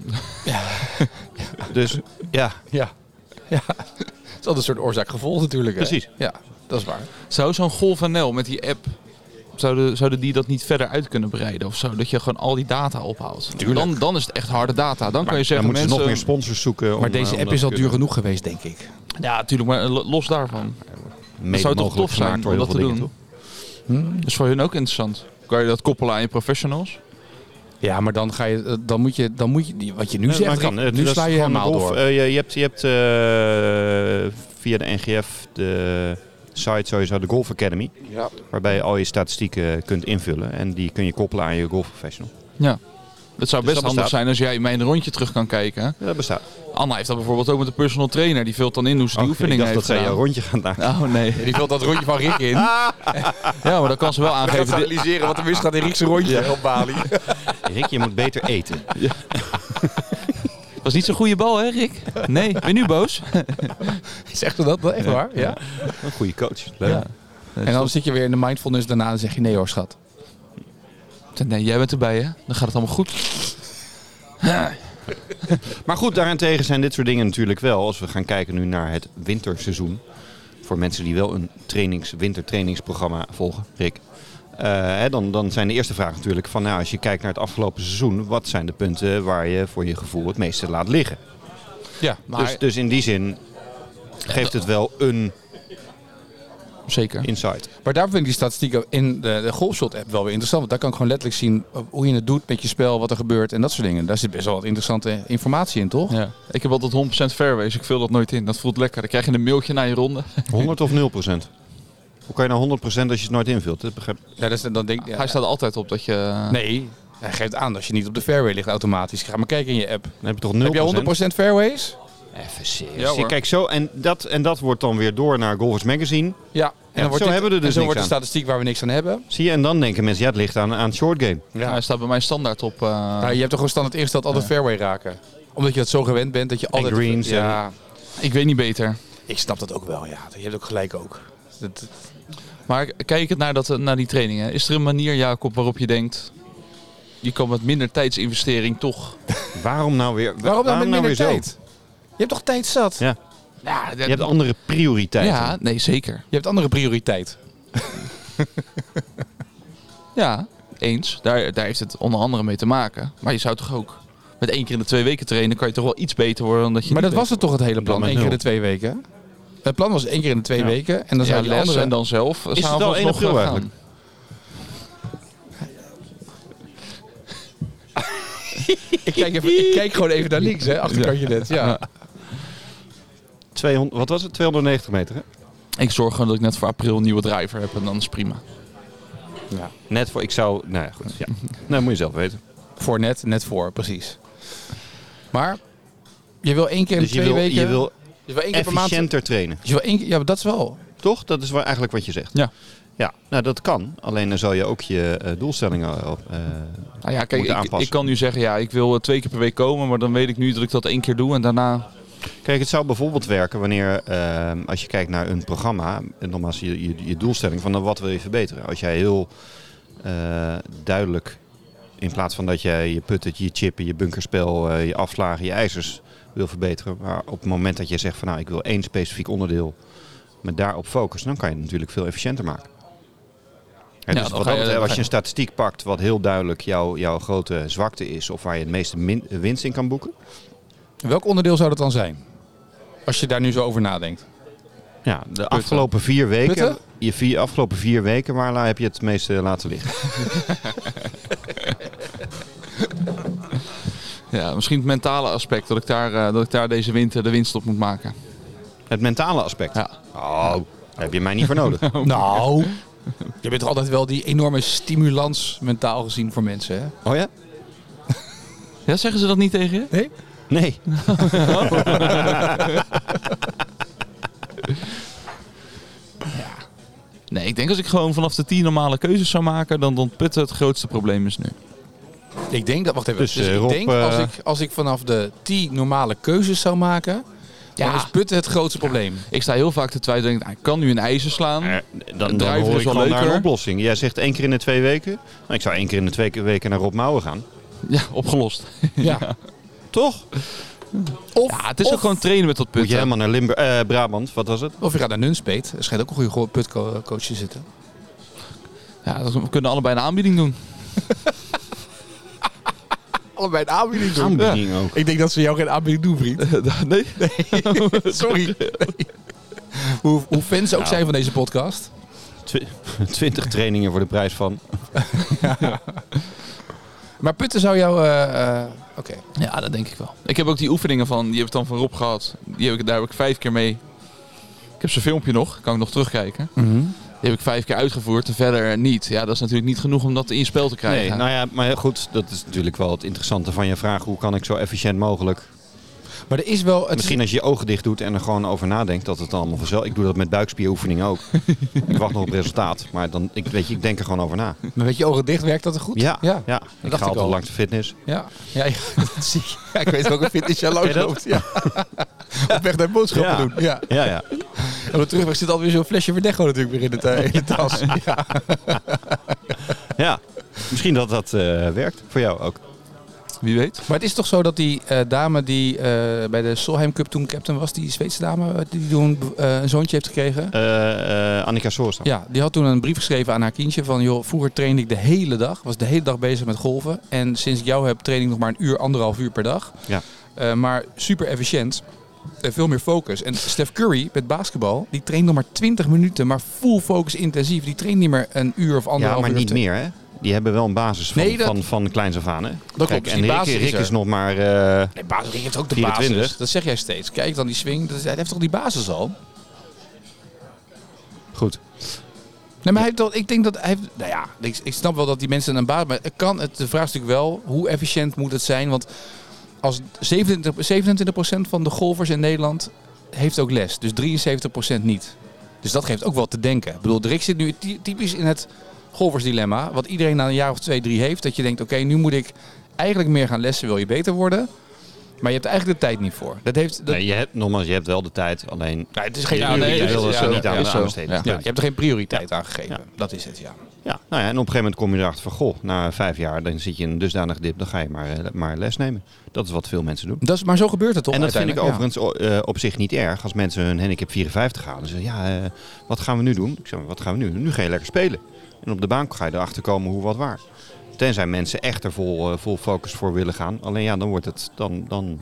S2: Dus ja,
S1: Ja. *laughs* ja. Het is altijd een soort oorzaak-gevolg natuurlijk. hè.
S2: Precies.
S1: Ja, dat is waar.
S3: Zou zo'n Golvanel met die app, zouden, zouden die dat niet verder uit kunnen breiden of zo? Dat je gewoon al die data ophoudt.
S1: Tuurlijk.
S3: Dan, dan is het echt harde data. Dan kan
S2: dan
S3: je zeggen
S2: moeten ze
S3: mensen...
S2: nog meer sponsors zoeken. om,
S1: Maar
S2: eh, om
S1: deze app
S2: dat
S1: is al
S2: te
S1: duur
S2: kunnen.
S1: genoeg geweest, denk ik.
S3: ja, natuurlijk, maar lo- los daarvan.
S2: Mede
S3: Dat zou toch
S2: mogelijk
S3: tof zijn
S2: gemaakt door
S3: om
S2: heel
S3: dat
S2: veel
S3: te
S2: dingen,
S3: doen.
S2: toch?
S3: Dat is voor hun ook interessant. Kan je dat koppelen aan je professionals?
S1: Ja, maar dan, ga je, eh, dan, moet je, dan moet je, die- wat je nu
S2: Nee,
S1: zegt,
S2: maar
S1: Rick,
S2: kan. Eh,
S1: nu
S2: dat is
S1: sla je
S2: gewoon
S1: helemaal
S2: golf.
S1: door.
S2: Eh, je, je hebt, je hebt eh, via de NGF de site sowieso de Golf Academy.
S1: Ja.
S2: Waarbij je al je statistieken kunt invullen. En die kun je koppelen aan je golfprofessional.
S3: Ja. Het zou
S2: Dus
S3: best
S2: dat
S3: handig
S2: bestaat.
S3: zijn als jij mij een rondje terug kan kijken.
S2: Ja, dat bestaat.
S3: Anna heeft dat bijvoorbeeld ook met de personal trainer. Die vult dan in hoe ze
S2: Oh,
S3: die
S2: ik
S3: oefeningen
S2: dacht
S3: heeft
S2: dat zij jouw
S3: gedaan.
S2: rondje gaan *laughs* daar.
S3: Oh nee.
S1: Die vult dat rondje van Rick in.
S3: *laughs* Ja, maar dan kan ze wel aangeven. dit-
S1: analyseren wat er misgaat in Rick's rondje op Bali.
S2: *laughs* Rick, je moet beter eten.
S3: was niet zo'n goede bal, hè, Rick? Nee, ben je nu boos?
S1: Zegt ze dat wel echt waar? Ja.
S2: Een goede coach. Leuk.
S3: Ja.
S1: En dan zit je weer in de mindfulness daarna en zeg je nee hoor schat.
S3: Nee, jij bent erbij, hè? Dan gaat het allemaal goed.
S2: Maar goed, daarentegen zijn dit soort dingen natuurlijk wel. Als we gaan kijken nu naar het winterseizoen. Voor mensen die wel een trainings, wintertrainingsprogramma volgen, Rick. eh, hè, dan, dan zijn de eerste vragen natuurlijk van nou, als je kijkt naar het afgelopen seizoen, wat zijn de punten waar je voor je gevoel het meeste laat liggen?
S1: Ja, maar
S2: Dus, dus in die zin geeft het wel een
S3: Zeker.
S2: insight.
S1: Maar daar vind ik die statistieken in de, de golfshot app wel weer interessant. Want daar kan ik gewoon letterlijk zien eh, hoe je het doet met je spel, wat er gebeurt en dat soort dingen. Daar zit best wel wat interessante informatie in, toch?
S3: Ja. Ik heb altijd 100% fairways. Ik vul dat nooit in. Dat voelt lekker. Dan krijg je een mailtje na je ronde.
S2: 100 of 0 procent? Hoe kan je nou 100 procent als je het nooit invult? Dat begrijp
S1: Ja, dat is, dan denk ik, ja,
S3: Hij staat er altijd op dat je...
S1: Nee, hij geeft aan dat je niet op de fairway ligt automatisch. Ga maar kijken in je app.
S2: Dan heb je toch 0
S1: Heb jij 100% fairways?
S2: Even serieus.
S3: Ja, hoor.
S2: Je kijkt zo, en dat, en dat wordt dan weer door naar Golfers Magazine.
S1: Ja. En
S2: zo hebben we er
S1: en zo
S2: dus niks
S1: wordt de
S2: aan.
S1: statistiek waar we niks aan hebben.
S2: Zie je, en dan denken mensen, ja, het ligt aan, aan het short game.
S1: Ja.
S3: Hij staat bij mij standaard op... eh,
S1: Nou, je hebt toch gewoon standaard ingesteld altijd fairway raken. Omdat je dat zo gewend bent dat je altijd...
S2: greens en-
S1: ja,
S3: Ik weet niet beter.
S1: Ik snap dat ook wel, ja. Je hebt ook gelijk ook. Dat,
S3: Maar kijk het naar, dat, eh, naar die trainingen. Is er een manier, Jacob, waarop je denkt... Je kan met minder tijdsinvestering toch...
S2: Waarom nou weer?
S1: waarom dan met minder
S2: nou weer
S1: tijd? Je hebt toch tijd zat?
S2: Ja.
S3: Ja,
S2: Zo? Je hebt andere prioriteiten.
S3: ja nee, zeker.
S1: Je hebt andere prioriteit.
S3: Ja, eens. Daar, daar heeft het onder andere mee te maken. Maar je zou toch ook... Met één keer in de twee weken trainen kan je toch wel iets beter worden dan dat je
S1: Maar dat
S3: niet
S1: was het toch het hele plan?
S2: met
S1: Eén keer in de
S2: nul.
S1: twee weken? Het plan was één keer in de twee
S2: Ja.
S1: weken. En dan
S3: ja,
S1: zijn de
S3: les
S1: anderen...
S3: en dan zelf.
S2: het
S3: s'avonds
S2: al één
S3: nog
S2: april
S3: gaan.
S2: eigenlijk?
S1: Ik kijk, even, ik kijk gewoon even naar links, hè, achterkantje net. Ja.
S2: 200, wat was het? 290 meter, hè?
S3: Ik zorg gewoon dat ik net voor april een nieuwe driver heb en dan is prima.
S2: Ja. Net voor, ik zou, nou ja, goed. Ja. *laughs* nou, moet je zelf weten.
S1: Voor net, net voor, precies. Maar je wil één keer in
S2: Dus je
S1: twee
S2: wil,
S1: weken...
S2: je wil
S1: je wil één keer per maand... Dus
S2: efficiënter trainen,
S1: Je wil één keer, ja, maar dat is wel.
S2: toch? Dat is wa- eigenlijk wat je zegt.
S3: Ja.
S2: Ja, nou dat kan. Alleen dan zou je ook je eh, doelstellingen op... eh,
S3: Nou ja, kijk,
S2: Moeten
S3: ik,
S2: aanpassen.
S3: ik kan nu zeggen, ja, ik wil eh, twee keer per week komen, maar dan weet ik nu dat ik dat één keer doe en daarna...
S2: Kijk, het zou bijvoorbeeld werken wanneer, eh, als je kijkt naar een programma, en nogmaals je, je, je doelstelling van nou, wat wil je verbeteren. Als jij heel eh, duidelijk, in plaats van dat jij je putten, je chippen, je bunkerspel, eh, je afslagen, je ijzers wil verbeteren. Maar op het moment dat je zegt van nou ik wil één specifiek onderdeel, maar daarop focussen, dan kan je het natuurlijk veel efficiënter maken. En
S3: Ja,
S2: dus wat
S3: dan ga
S2: dat
S3: je-
S2: betreft,
S3: dan
S2: als
S3: ga
S2: je
S3: je-
S2: een statistiek pakt wat heel duidelijk jouw, jouw grote zwakte is of waar je het meeste min- winst in kan boeken.
S1: Welk onderdeel zou dat dan zijn? Als je daar nu zo over
S2: *laughs*
S1: nadenkt.
S2: Ja, de afgelopen vier weken.
S1: Putten?
S2: Je vier, afgelopen vier weken, waar la- heb je het meeste laten liggen?
S3: Ja, misschien het mentale aspect, dat ik daar, eh, dat ik daar deze winter de winst op moet maken.
S2: Het mentale aspect.
S3: Ja.
S2: Oh, daar heb je mij niet voor nodig.
S1: Nou, je bent toch altijd wel die enorme stimulans mentaal gezien voor mensen, hè?
S2: *laughs* Oh ja?
S3: Ja, zeggen ze dat niet tegen je?
S1: Nee?
S2: Nee.
S3: Nee, ik denk als ik gewoon vanaf de tien normale keuzes zou maken, dan, dan putten het grootste probleem is nu.
S1: Ik denk dat, wacht even. Dus,
S2: Dus, eh,
S1: ik
S2: Rob,
S1: denk als
S2: eh,
S1: ik, als ik vanaf de 10 normale keuzes zou maken, dan
S3: Ja.
S1: is putten het grootste probleem.
S3: Ik sta heel vaak te twijfelen, denk, ik, nou, ik kan nu een ijzer slaan.
S2: Eh, Dan, dan
S3: Drijven
S2: hoor
S3: is
S2: ik
S3: wel
S2: gewoon naar een
S3: leuker.
S2: oplossing. Jij zegt één keer in de twee weken. Nou, ik zou één keer in de twee ke- weken naar Rob Mouwen gaan.
S3: Ja, opgelost. *laughs*
S1: Ja.
S2: Toch?
S1: Of,
S3: Ja, het is
S1: of,
S3: ook gewoon trainen met dat
S2: Moet je
S3: putten.
S2: helemaal naar Limburg, eh, Brabant, wat was het?
S1: of je gaat naar Nunspeet. Er schijnt ook een goede putcoach te zitten.
S3: Ja, dat- we kunnen allebei een aanbieding doen.
S1: Allebei een aanbieding
S2: Aanbieding ook.
S1: Ik denk dat ze jou geen aanbieding doen,
S3: *laughs*
S1: vriend.
S3: *laughs* nee?
S1: Sorry. *laughs* Hoe, hoe fans ze ook zijn van deze podcast.
S2: Twi- *laughs* Twintig trainingen voor de prijs van.
S1: Maar putten zou jou... eh, eh, Oké.
S3: Ja, dat denk ik wel. Ik heb ook die oefeningen van, die heb ik dan van Rob gehad. Die heb ik, daar heb ik vijf keer mee. Ik heb zijn filmpje nog, kan ik nog terugkijken. Die heb ik vijf keer uitgevoerd en verder niet. Ja, dat is natuurlijk niet genoeg om dat in je spel te
S2: Nee,
S3: krijgen.
S2: nou ja, maar goed, dat is natuurlijk wel het interessante van je vraag. Hoe kan ik zo efficiënt mogelijk
S1: Maar er is wel... Het
S2: Misschien als je je ogen dicht doet en er gewoon over nadenkt dat het allemaal vanzelf. Ik doe dat met buikspieroefeningen ook. ik wacht nog op resultaat, maar dan, ik, weet je, ik denk er gewoon over na.
S1: Maar weet je ogen dicht, werkt dat er goed?
S2: Ja, ja.
S1: Ja, ja.
S2: ik
S1: dacht
S2: ga
S1: ik
S2: altijd
S1: al.
S2: langs de fitness.
S1: ja. ja, *laughs* dat zie ik. Ja, ik weet welke fitness jij langs
S2: Ken je dat?
S1: loopt. Ja. Op weg naar boodschappen
S2: Ja.
S1: doen. Ja.
S2: Ja, ja.
S1: En op de terugweg zit alweer zo'n flesje Verdecho natuurlijk weer in de, ta- in de tas. Ja.
S2: ja. Misschien dat dat eh, werkt voor jou ook.
S3: Wie weet.
S1: Maar het is toch zo dat die eh, dame die eh, bij de Solheim Cup toen captain was, die Zweedse dame eh, die toen eh, een zoontje heeft gekregen...
S2: Eh, eh, Annika Soorsta.
S1: Ja, die had toen een brief geschreven aan haar kindje van... joh, vroeger trainde ik de hele dag, was de hele dag bezig met golven. En sinds ik jou heb, train ik nog maar een uur, anderhalf uur per dag.
S2: Ja.
S1: Eh, maar super efficiënt. En veel meer focus. En Steph Curry met basketbal, die traint nog maar 20 minuten, maar full focus intensief. Die traint niet meer een uur of
S2: Ja,
S1: anderhalf
S2: maar
S1: uur.
S2: niet
S1: of twee-
S2: meer hè. Die hebben wel een basis van,
S1: Nee, dat-
S2: van, van kleins af aan hè.
S1: klopt,
S2: Kijk,
S1: dus
S2: en
S1: die
S2: Rick,
S1: basis is
S2: Rick
S1: er.
S2: is nog maar... eh,
S1: Nee, basis Rick heeft ook de
S2: 24.
S1: basis. Dat zeg jij steeds. Kijk dan die swing, dat, hij heeft toch die basis al?
S2: goed.
S1: Nee, maar hij heeft wel- ik denk dat hij heeft, nou ja, ik, ik snap wel dat die mensen een baat, maar het kan het, de vraag is natuurlijk wel, hoe efficiënt moet het zijn? Want als 27, 27% van de golfers in Nederland heeft ook les, dus 73% niet. Dus dat geeft ook wel te denken. Ik bedoel, Rick zit nu ty- typisch in het golfersdilemma, wat iedereen na een jaar of twee, drie heeft, dat je denkt, oké, nu moet ik eigenlijk meer gaan lessen, wil je beter worden, maar je hebt er eigenlijk de tijd niet voor. Dat heeft, dat,
S2: Nee, je hebt, nogmaals, je hebt wel de tijd, alleen...
S1: Nou, het is geen
S2: je,
S3: nee,
S2: je
S1: prioriteit.
S2: wil
S1: Ja,
S2: het
S1: ja,
S2: niet aan
S1: ja.
S2: de
S3: zo.
S2: aanbesteden.
S3: Ja.
S1: Ja, je hebt er geen prioriteit aan gegeven. Dat is het, ja.
S2: Ja, nou ja, en op een gegeven moment kom je erachter van, goh, na vijf jaar dan zit je in een dusdanig dip, dan ga je maar, eh, maar les nemen. Dat is wat veel mensen doen.
S1: Dat is, maar zo gebeurt het toch?
S2: en dat vind ik
S1: uiteindelijk? Ja.
S2: overigens o- eh, op zich niet erg als mensen hun handicap 54 halen. Ze zeggen, ja, eh, wat gaan we nu doen? Ik zeg, wat gaan we nu doen? Nu ga je lekker spelen. En op de baan ga je erachter komen hoe wat waar. Tenzij mensen echt er vol, eh, vol focus voor willen gaan. Alleen ja, dan wordt het dan... dan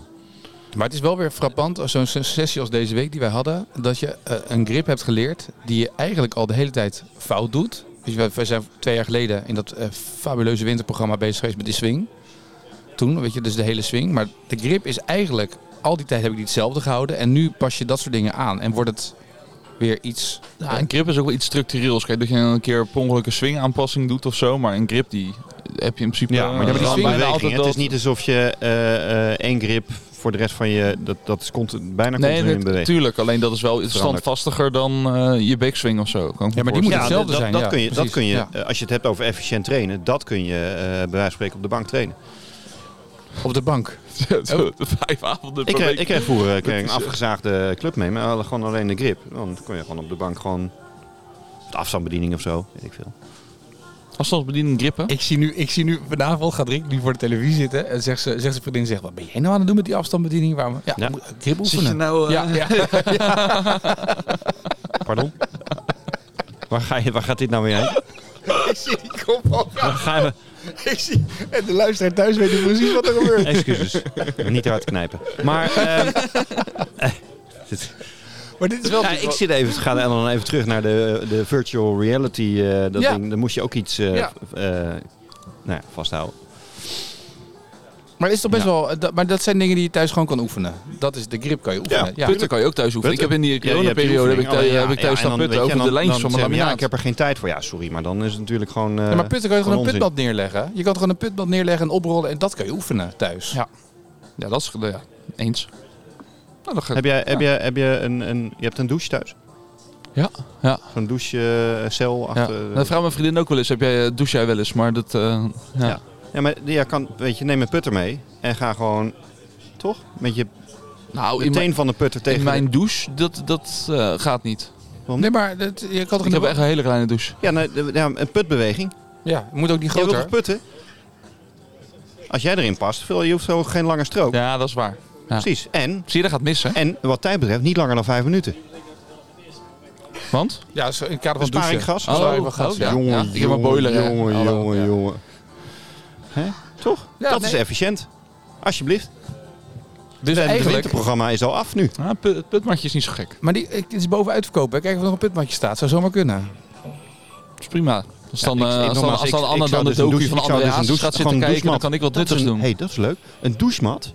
S1: Maar het is wel weer frappant, als zo'n sessie als deze week die wij hadden, dat je eh, een grip hebt geleerd die je eigenlijk al de hele tijd fout doet. Dus we, we zijn twee jaar geleden in dat eh, fabuleuze winterprogramma bezig geweest met die swing. toen, weet je, dus de hele swing. Maar de grip is eigenlijk, al die tijd heb ik die hetzelfde gehouden. En nu pas je dat soort dingen aan en wordt het weer iets... eh,
S3: Ja, een grip is ook wel iets structureels. Kijk, dat je een keer per ongeluk een swingaanpassing doet of zo. Maar een grip die heb je in principe...
S2: Ja, maar
S3: eh,
S2: dat
S1: die
S2: is
S3: bijna
S2: een
S3: altijd
S2: beweging. hè. Het
S3: wel-
S2: is niet alsof je eh, eh, één grip voor de rest van je... Dat, dat is continu, bijna
S3: Nee,
S2: continu in
S3: natuurlijk.
S2: beweging.
S3: tuurlijk. Alleen dat is wel standvastiger dan eh, je backswing of zo. Kan ik
S1: Ja,
S3: me
S1: maar die moet
S3: voorstellen.
S1: hetzelfde
S2: dat,
S1: zijn,
S2: Dat
S1: ja,
S2: kun je, dat
S1: precies,
S2: kun je
S1: ja.
S2: eh, als je het hebt over efficiënt trainen, dat kun je eh, bij wijze van spreken op de bank trainen.
S1: Op de bank.
S3: *laughs* Zo, Vijf avonden per
S2: Ik kreeg,
S3: week.
S2: ik kreeg vroeger eh, kreeg
S3: Dat
S2: een
S3: is, eh,
S2: afgezaagde club mee, maar we hadden gewoon alleen de grip. Dan kon je gewoon op de bank gewoon de afstandsbediening of zo, weet ik veel.
S3: Afstandsbediening grippen.
S1: Ik zie nu, ik zie nu vanavond gaat Rick nu voor de televisie zitten en zegt ze, zegt ze vriendin, zegt, wat ben jij nou aan het doen met die afstandsbediening? Waarom? Ja,
S2: Ja.
S1: moet- grip
S4: Zit je
S1: oefenen.
S4: nou... eh,
S1: Ja, ja. *laughs*
S2: Pardon? *laughs* waar, ga je, waar gaat dit nou weer heen?
S1: ik zie die kop al
S2: Waar gaan we?
S1: Ik zie, en de luisteraar thuis weet niet precies wat er gebeurt.
S2: Excuses. Niet hard knijpen. Maar ehm, *laughs* eh, dit-
S1: Maar dit is wel...
S2: Ja, ik zit even, ga dan even terug naar de, de virtual reality. eh, dat
S1: Ja.
S2: ding. Dan moest je ook iets eh,
S1: Ja.
S2: v- eh, nou ja, vasthouden.
S1: Maar het is toch best
S2: Ja.
S1: wel... dat- Maar dat zijn dingen die je thuis gewoon kan oefenen. Dat is de grip kan je oefenen. Ja.
S3: Putten kan je ook thuis oefenen. Ik heb in die coronaperiode heb ik,
S2: Oh,
S3: thuis-
S2: ja,
S3: heb ik
S2: ja, en
S3: thuis
S2: dan, weet
S3: staan
S2: je,
S3: putten over
S2: en
S3: de
S2: dan-
S3: lijntjes
S2: dan
S3: van
S2: zeg
S3: mijn
S2: je, Ja, ik
S3: laminaat.
S2: heb er geen tijd voor. Ja, sorry, maar dan is het natuurlijk gewoon. eh,
S1: Ja, maar putten kan je gewoon een
S2: onzin.
S1: putband neerleggen. Je kan gewoon een putband neerleggen en oprollen. En dat kan je oefenen thuis.
S3: Ja. Ja, dat is ja, eens. Nou, dan ga
S2: Heb jij, heb jij, heb je een, een, je hebt een douche thuis?
S3: Ja, ja.
S2: Zo'n
S3: eh,
S2: douchecel
S3: Ja.
S2: achter.
S3: Dat vraagt mijn vriendin ook wel eens. Heb jij, eh, douche jij wel eens? Maar dat, eh, ja.
S2: Ja. Ja, maar ja, kan, weet je, neem een putter mee en ga gewoon, toch? Met je
S3: Nou, in,
S2: meteen
S3: mijn-
S2: van de putter tegen.
S3: in mijn douche, dat, dat eh, gaat niet.
S1: Nee, maar dat, je kan toch
S3: Ik heb
S1: niet-
S3: echt een hele kleine douche.
S2: Ja, nou, de- ja, een putbeweging.
S1: Ja, je moet ook niet
S2: Je wilt
S1: groter.
S2: toch putten? Als jij erin past, vul- je hoeft zo geen lange strook.
S3: Ja, dat is waar. Ja.
S2: Precies. En,
S3: Zie je, dat gaat missen.
S2: en wat tijd betreft, niet langer dan vijf minuten.
S3: Want?
S1: Ja, zo in het kader
S2: Dan
S1: van
S2: spaar ik
S1: douchen.
S2: gas.
S3: Oh,
S1: Zwaar even gas,
S3: oh,
S1: ja.
S2: Jongen,
S3: Ja, ik heb een boiler, hè.
S2: Jongen,
S3: Hallo.
S2: jongen,
S1: Ja.
S2: jongen. Hè? Toch?
S1: Ja,
S2: dat
S1: nee.
S2: is efficiënt. Alsjeblieft.
S1: Dus
S2: Het
S1: eigenlijk...
S2: winterprogramma is al af nu.
S3: Ja, pu- het putmatje is niet zo gek.
S1: Maar die, het is bovenuit verkopen. hè. Kijk of er nog een putmatje staat. Zou zomaar kunnen.
S3: Dat is prima. Als dan,
S2: Ja,
S3: eh,
S2: ik- ik-
S3: als dan,
S2: nogmaals,
S3: als
S2: ik-
S3: dan
S2: ik
S3: Anna
S2: zou
S3: dan de
S2: dus een
S3: docu
S2: douche-
S3: van
S2: ik zou dus
S3: André
S2: een
S3: Haas
S2: douche-
S3: gaat
S2: gewoon
S3: zitten
S2: een
S3: kijken, dan
S2: douchemat.
S3: kan ik wat
S2: Dat is
S3: nuttigs
S2: een-
S3: doen.
S2: hey, dat is leuk. Een douchemat.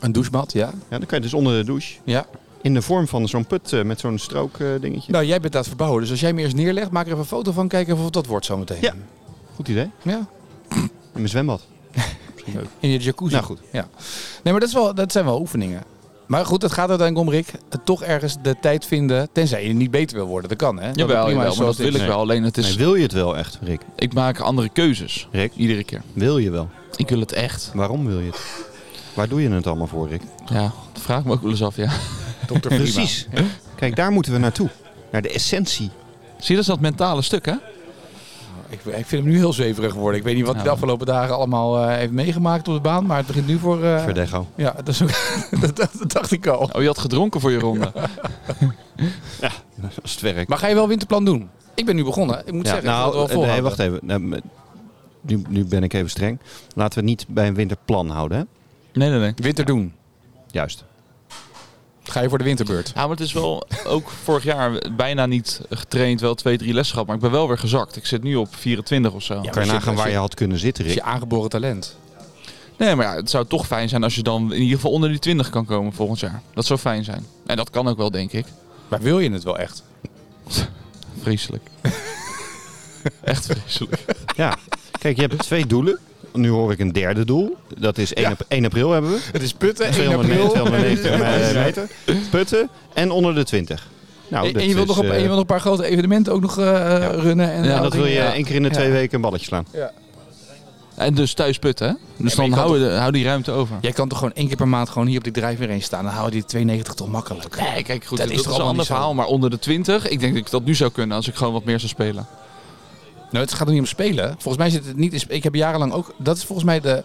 S1: Een douchemat, ja.
S2: Ja, dan kan je dus onder de douche.
S1: Ja.
S2: In de vorm van zo'n put eh, met zo'n strook eh, dingetje.
S1: Nou, jij bent aan het verbouwen. Dus als jij me eerst neerlegt, maak er even een foto van. Kijken of het dat wordt zometeen.
S2: Ja. Goed idee.
S1: ja.
S2: In mijn zwembad. Misschien leuk.
S1: In je jacuzzi.
S2: Nou, goed.
S1: Ja. Nee, maar dat, is wel, dat zijn wel oefeningen. Maar goed, het gaat uiteindelijk om, Rick. Het toch ergens de tijd vinden. Tenzij je niet beter wil worden. Dat kan, hè? Dat het
S3: Jawel,
S1: prima
S3: jawel,
S1: is
S3: maar
S1: zoals
S3: dat wil
S1: het
S3: ik
S1: is.
S3: wel. Alleen het
S2: Nee,
S3: is,
S2: wil je het wel echt, Rick?
S3: ik maak andere keuzes.
S2: Rick?
S3: Iedere keer.
S2: Wil je wel?
S3: Ik wil het echt.
S2: Waarom wil je het? Waar doe je het allemaal voor, Rick?
S3: Ja, dat vraag ik me ook wel eens af, ja. *laughs*
S1: Dr. Prima.
S2: Precies. Kijk, daar moeten we naartoe. Naar de essentie.
S3: Zie je, dat is dat mentale stuk, hè?
S1: Ik, ik vind hem nu heel zweverig geworden. Ik weet niet wat hij de
S3: Ja.
S1: afgelopen dagen allemaal eh, heeft meegemaakt op de baan. Maar het begint nu voor... eh,
S2: Verdego.
S1: ja, dat, is ook, *laughs* dat, dat- dat dacht ik al.
S3: Oh, je had gedronken voor je *laughs* ronde.
S2: *laughs* Als het werkt.
S1: Maar ga je wel winterplan doen? Ik ben nu begonnen. Ik moet
S2: Ja,
S1: zeggen, ik had het wel
S2: nou, nee,
S1: volhouden.
S2: wacht even. Nou, Nu, nu ben ik even streng. Laten we het niet bij een winterplan houden, hè?
S3: Nee, nee, nee.
S1: Winter doen.
S2: Juist.
S1: Ga je voor de winterbeurt.
S3: Ja, maar het is wel ook vorig jaar bijna niet getraind. Wel twee, drie lessen gehad. Maar ik ben wel weer gezakt. Ik zit nu op 24 of zo.
S1: Ja.
S2: kan je
S1: maar
S2: nagaan
S1: zit-
S2: waar
S1: zit-
S2: je had kunnen zitten,
S1: Dat is
S2: Rick.
S1: je aangeboren talent.
S3: Nee, maar ja, het zou toch fijn zijn als je dan in ieder geval onder die 20 kan komen volgend jaar. Dat zou fijn zijn. En dat kan ook wel, denk ik.
S1: Maar wil je het wel echt?
S3: Vreselijk. Echt vreselijk.
S2: Ja. Kijk, je hebt twee doelen. Nu hoor ik een derde doel. Dat is 1, ap- 1 april hebben we.
S1: Het is putten, *laughs*
S2: 290 meter. Putten. En onder de 20. Nou,
S1: en,
S2: dat
S1: en je wilt
S2: is,
S1: nog op, en
S2: eh,
S1: je wilt nog een paar grote evenementen ook nog eh, runnen. En,
S3: Ja,
S2: En
S1: al
S2: dat
S1: die
S2: wil je
S1: dingen.
S2: één keer in de twee
S1: Ja.
S2: weken een balletje slaan.
S1: Ja.
S3: En dus thuis putten, hè? Dus
S1: je
S3: dan
S1: kan
S3: hou, je de- hou die ruimte over.
S1: Jij kan toch gewoon één keer per maand gewoon hier op die drijfveer heen staan. Dan houden die 92 toch makkelijk.
S3: Nee, kijk, goed,
S1: Dat
S3: dat,
S1: is
S3: is,
S1: toch allemaal
S3: een ander
S1: niet zo?
S3: verhaal. Maar onder de 20, ik denk dat ik dat nu zou kunnen als ik gewoon wat meer zou spelen.
S1: Nou, het gaat er niet om spelen. Volgens mij zit het niet in sp- Ik heb jarenlang ook... Dat is volgens mij de...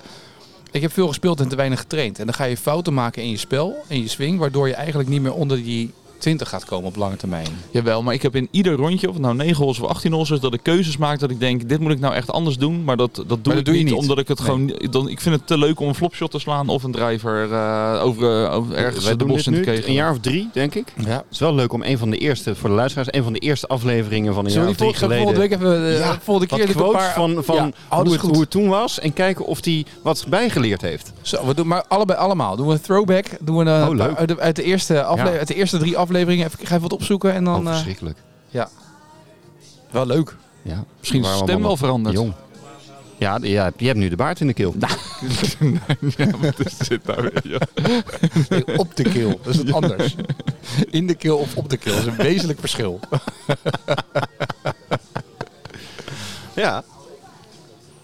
S1: Ik heb veel gespeeld en te weinig getraind. En dan ga je fouten maken in je spel, in je swing, waardoor je eigenlijk niet meer onder die 20 gaat komen op lange termijn.
S3: Jawel, maar ik heb in ieder rondje, of het nou 9 holes of 18 holes is, dat ik keuzes maak dat ik denk, dit moet ik nou echt anders doen. Maar dat, dat doe
S1: dat
S3: ik
S1: doe je
S3: niet,
S1: niet.
S3: omdat ik het
S1: Nee.
S3: gewoon... Dan, ik vind het te leuk om een flopshot te slaan of een driver eh, over, eh, over ergens
S2: Wij
S3: de
S2: doen
S3: bos
S2: dit
S3: in te
S2: nu
S3: kegelen.
S2: een jaar of drie, denk ik.
S1: Ja.
S2: Het is wel leuk om een van de eerste, voor de luisteraars, een van de eerste afleveringen van een
S1: Zullen
S2: jaar
S1: we
S2: of
S1: die vol-
S2: drie
S1: zullen we
S2: geleden...
S1: volgende week even eh,
S2: Ja,
S1: volgende
S2: wat
S1: keer dat we een
S2: quotes
S1: paar-
S2: van, van
S1: Ja, oh, dat
S2: hoe,
S1: is
S2: het,
S1: goed.
S2: hoe het toen was en kijken of hij wat bijgeleerd heeft.
S1: Zo, we doen maar allebei allemaal. Doen we een throwback. Doen we een,
S2: Oh, leuk.
S1: Uit, de, uit de eerste afle-
S2: Ja.
S1: uit de eerste drie afleveringen. Even, ik ga even wat opzoeken en dan.
S2: oh,
S1: eh,
S2: verschrikkelijk.
S1: wel leuk.
S2: Ja,
S3: Misschien is de
S2: Waarom
S3: stem wel
S2: allemaal
S3: veranderd.
S2: jong. Ja, d- ja, je hebt nu de baard in de keel.
S3: Ja, *laughs* wat is dit nou weer, joh?
S1: Nee, op de keel. Dat is
S2: *laughs*
S1: het anders. In de keel of op de keel. Dat is een wezenlijk verschil.
S2: *laughs* Ja.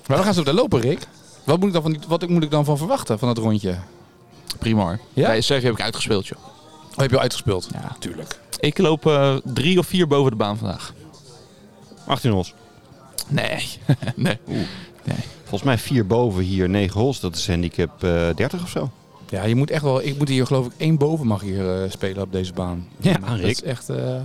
S1: Maar we gaan zo op de lopen, Rick. Wat moet ik dan van, die- wat moet ik dan van verwachten van dat rondje? Oh,
S3: Prima hoor.
S1: Ja?
S3: Bij Sergio heb ik uitgespeeld, joh.
S1: Oh, heb je al uitgespeeld?
S3: Ja.
S1: Tuurlijk.
S3: Ik loop eh, drie of vier boven de baan vandaag.
S2: 18 hols.
S3: Nee. nee.
S2: Volgens mij vier boven hier, 9 hols. Dat is handicap eh 30 of zo.
S1: Ja, je moet echt wel. Ik moet hier geloof ik één boven mag hier eh, spelen op deze baan.
S2: Ja,
S1: dat
S2: Rick.
S1: is echt. eh,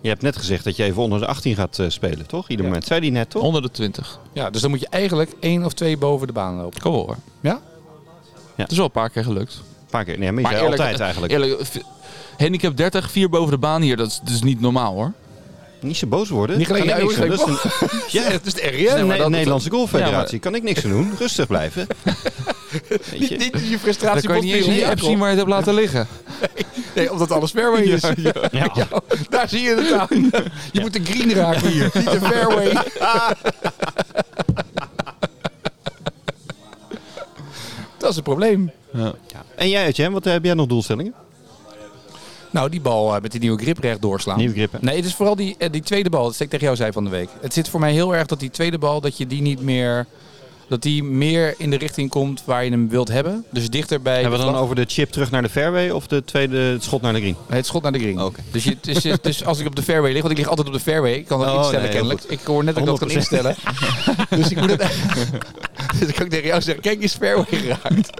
S2: Je hebt net gezegd dat je even onder de 18 gaat eh, spelen, toch? Ieder
S1: Ja.
S2: moment. Zei die net,
S1: Oh.
S2: toch?
S3: Onder de twintig.
S1: ja, dus dan moet je eigenlijk één of twee boven de baan lopen.
S3: Kom hoor.
S1: Ja?
S3: Het is wel een paar keer gelukt.
S2: Een paar keer. Nee, maar je zei
S3: eerlijk-
S2: altijd
S3: *laughs*
S2: eigenlijk.
S3: Eerlijk, v- handicap 30, vier boven de baan hier. Dat is dus niet normaal hoor.
S2: Niet zo boos worden.
S1: Niet gelijk
S2: Kan ik
S1: je
S2: niks aan doen.
S1: ogen-
S2: Dat
S1: *laughs*
S2: is een- Ja,
S1: het is het erg.
S2: de
S3: maar dat-
S2: Nederlandse Golffederatie.
S3: Ja, maar-
S2: Kan ik niks aan doen. Rustig blijven.
S1: *laughs*
S2: Weet je?
S1: Dit is je
S3: Dan
S1: frustratie.
S3: kan je niet eens in
S1: botvieren.
S3: je app zien waar je het hebt laten liggen.
S1: Nee, omdat alles fairway is.
S2: *laughs* Ja.
S1: *laughs* Daar zie je het aan.
S2: *laughs*
S1: Je moet de green raken hier, niet de fairway. *laughs* Dat is het probleem.
S2: Ja. En jij, Etienne, wat eh, heb jij nog doelstellingen?
S1: Nou, die bal eh, met die nieuwe grip recht doorslaan.
S2: Nieuwe grip, hè?
S1: Nee, het is vooral die, eh, die tweede bal. Dat steek ik tegen jou zei van de week. Het zit voor mij heel erg dat die tweede bal, dat je die niet meer... Dat die meer in de richting komt waar je hem wilt hebben. Dus dichter bij...
S2: Hebben
S1: de
S2: we dan
S1: vlag.
S2: over de chip terug naar de fairway of de tweede het schot naar de green?
S1: Nee, het schot naar de green.
S2: Oké.
S1: Dus, je, dus, je- dus als ik op de fairway lig, want ik lig altijd op de fairway. Ik kan dat
S2: Oh,
S1: instellen
S2: nee, heel
S1: kennelijk. Ik hoor net dat ik dat kan instellen.
S2: *laughs*
S1: dus ik moet het... *laughs* dus ik kan ik tegen jou zeggen, kijk, is fairway geraakt.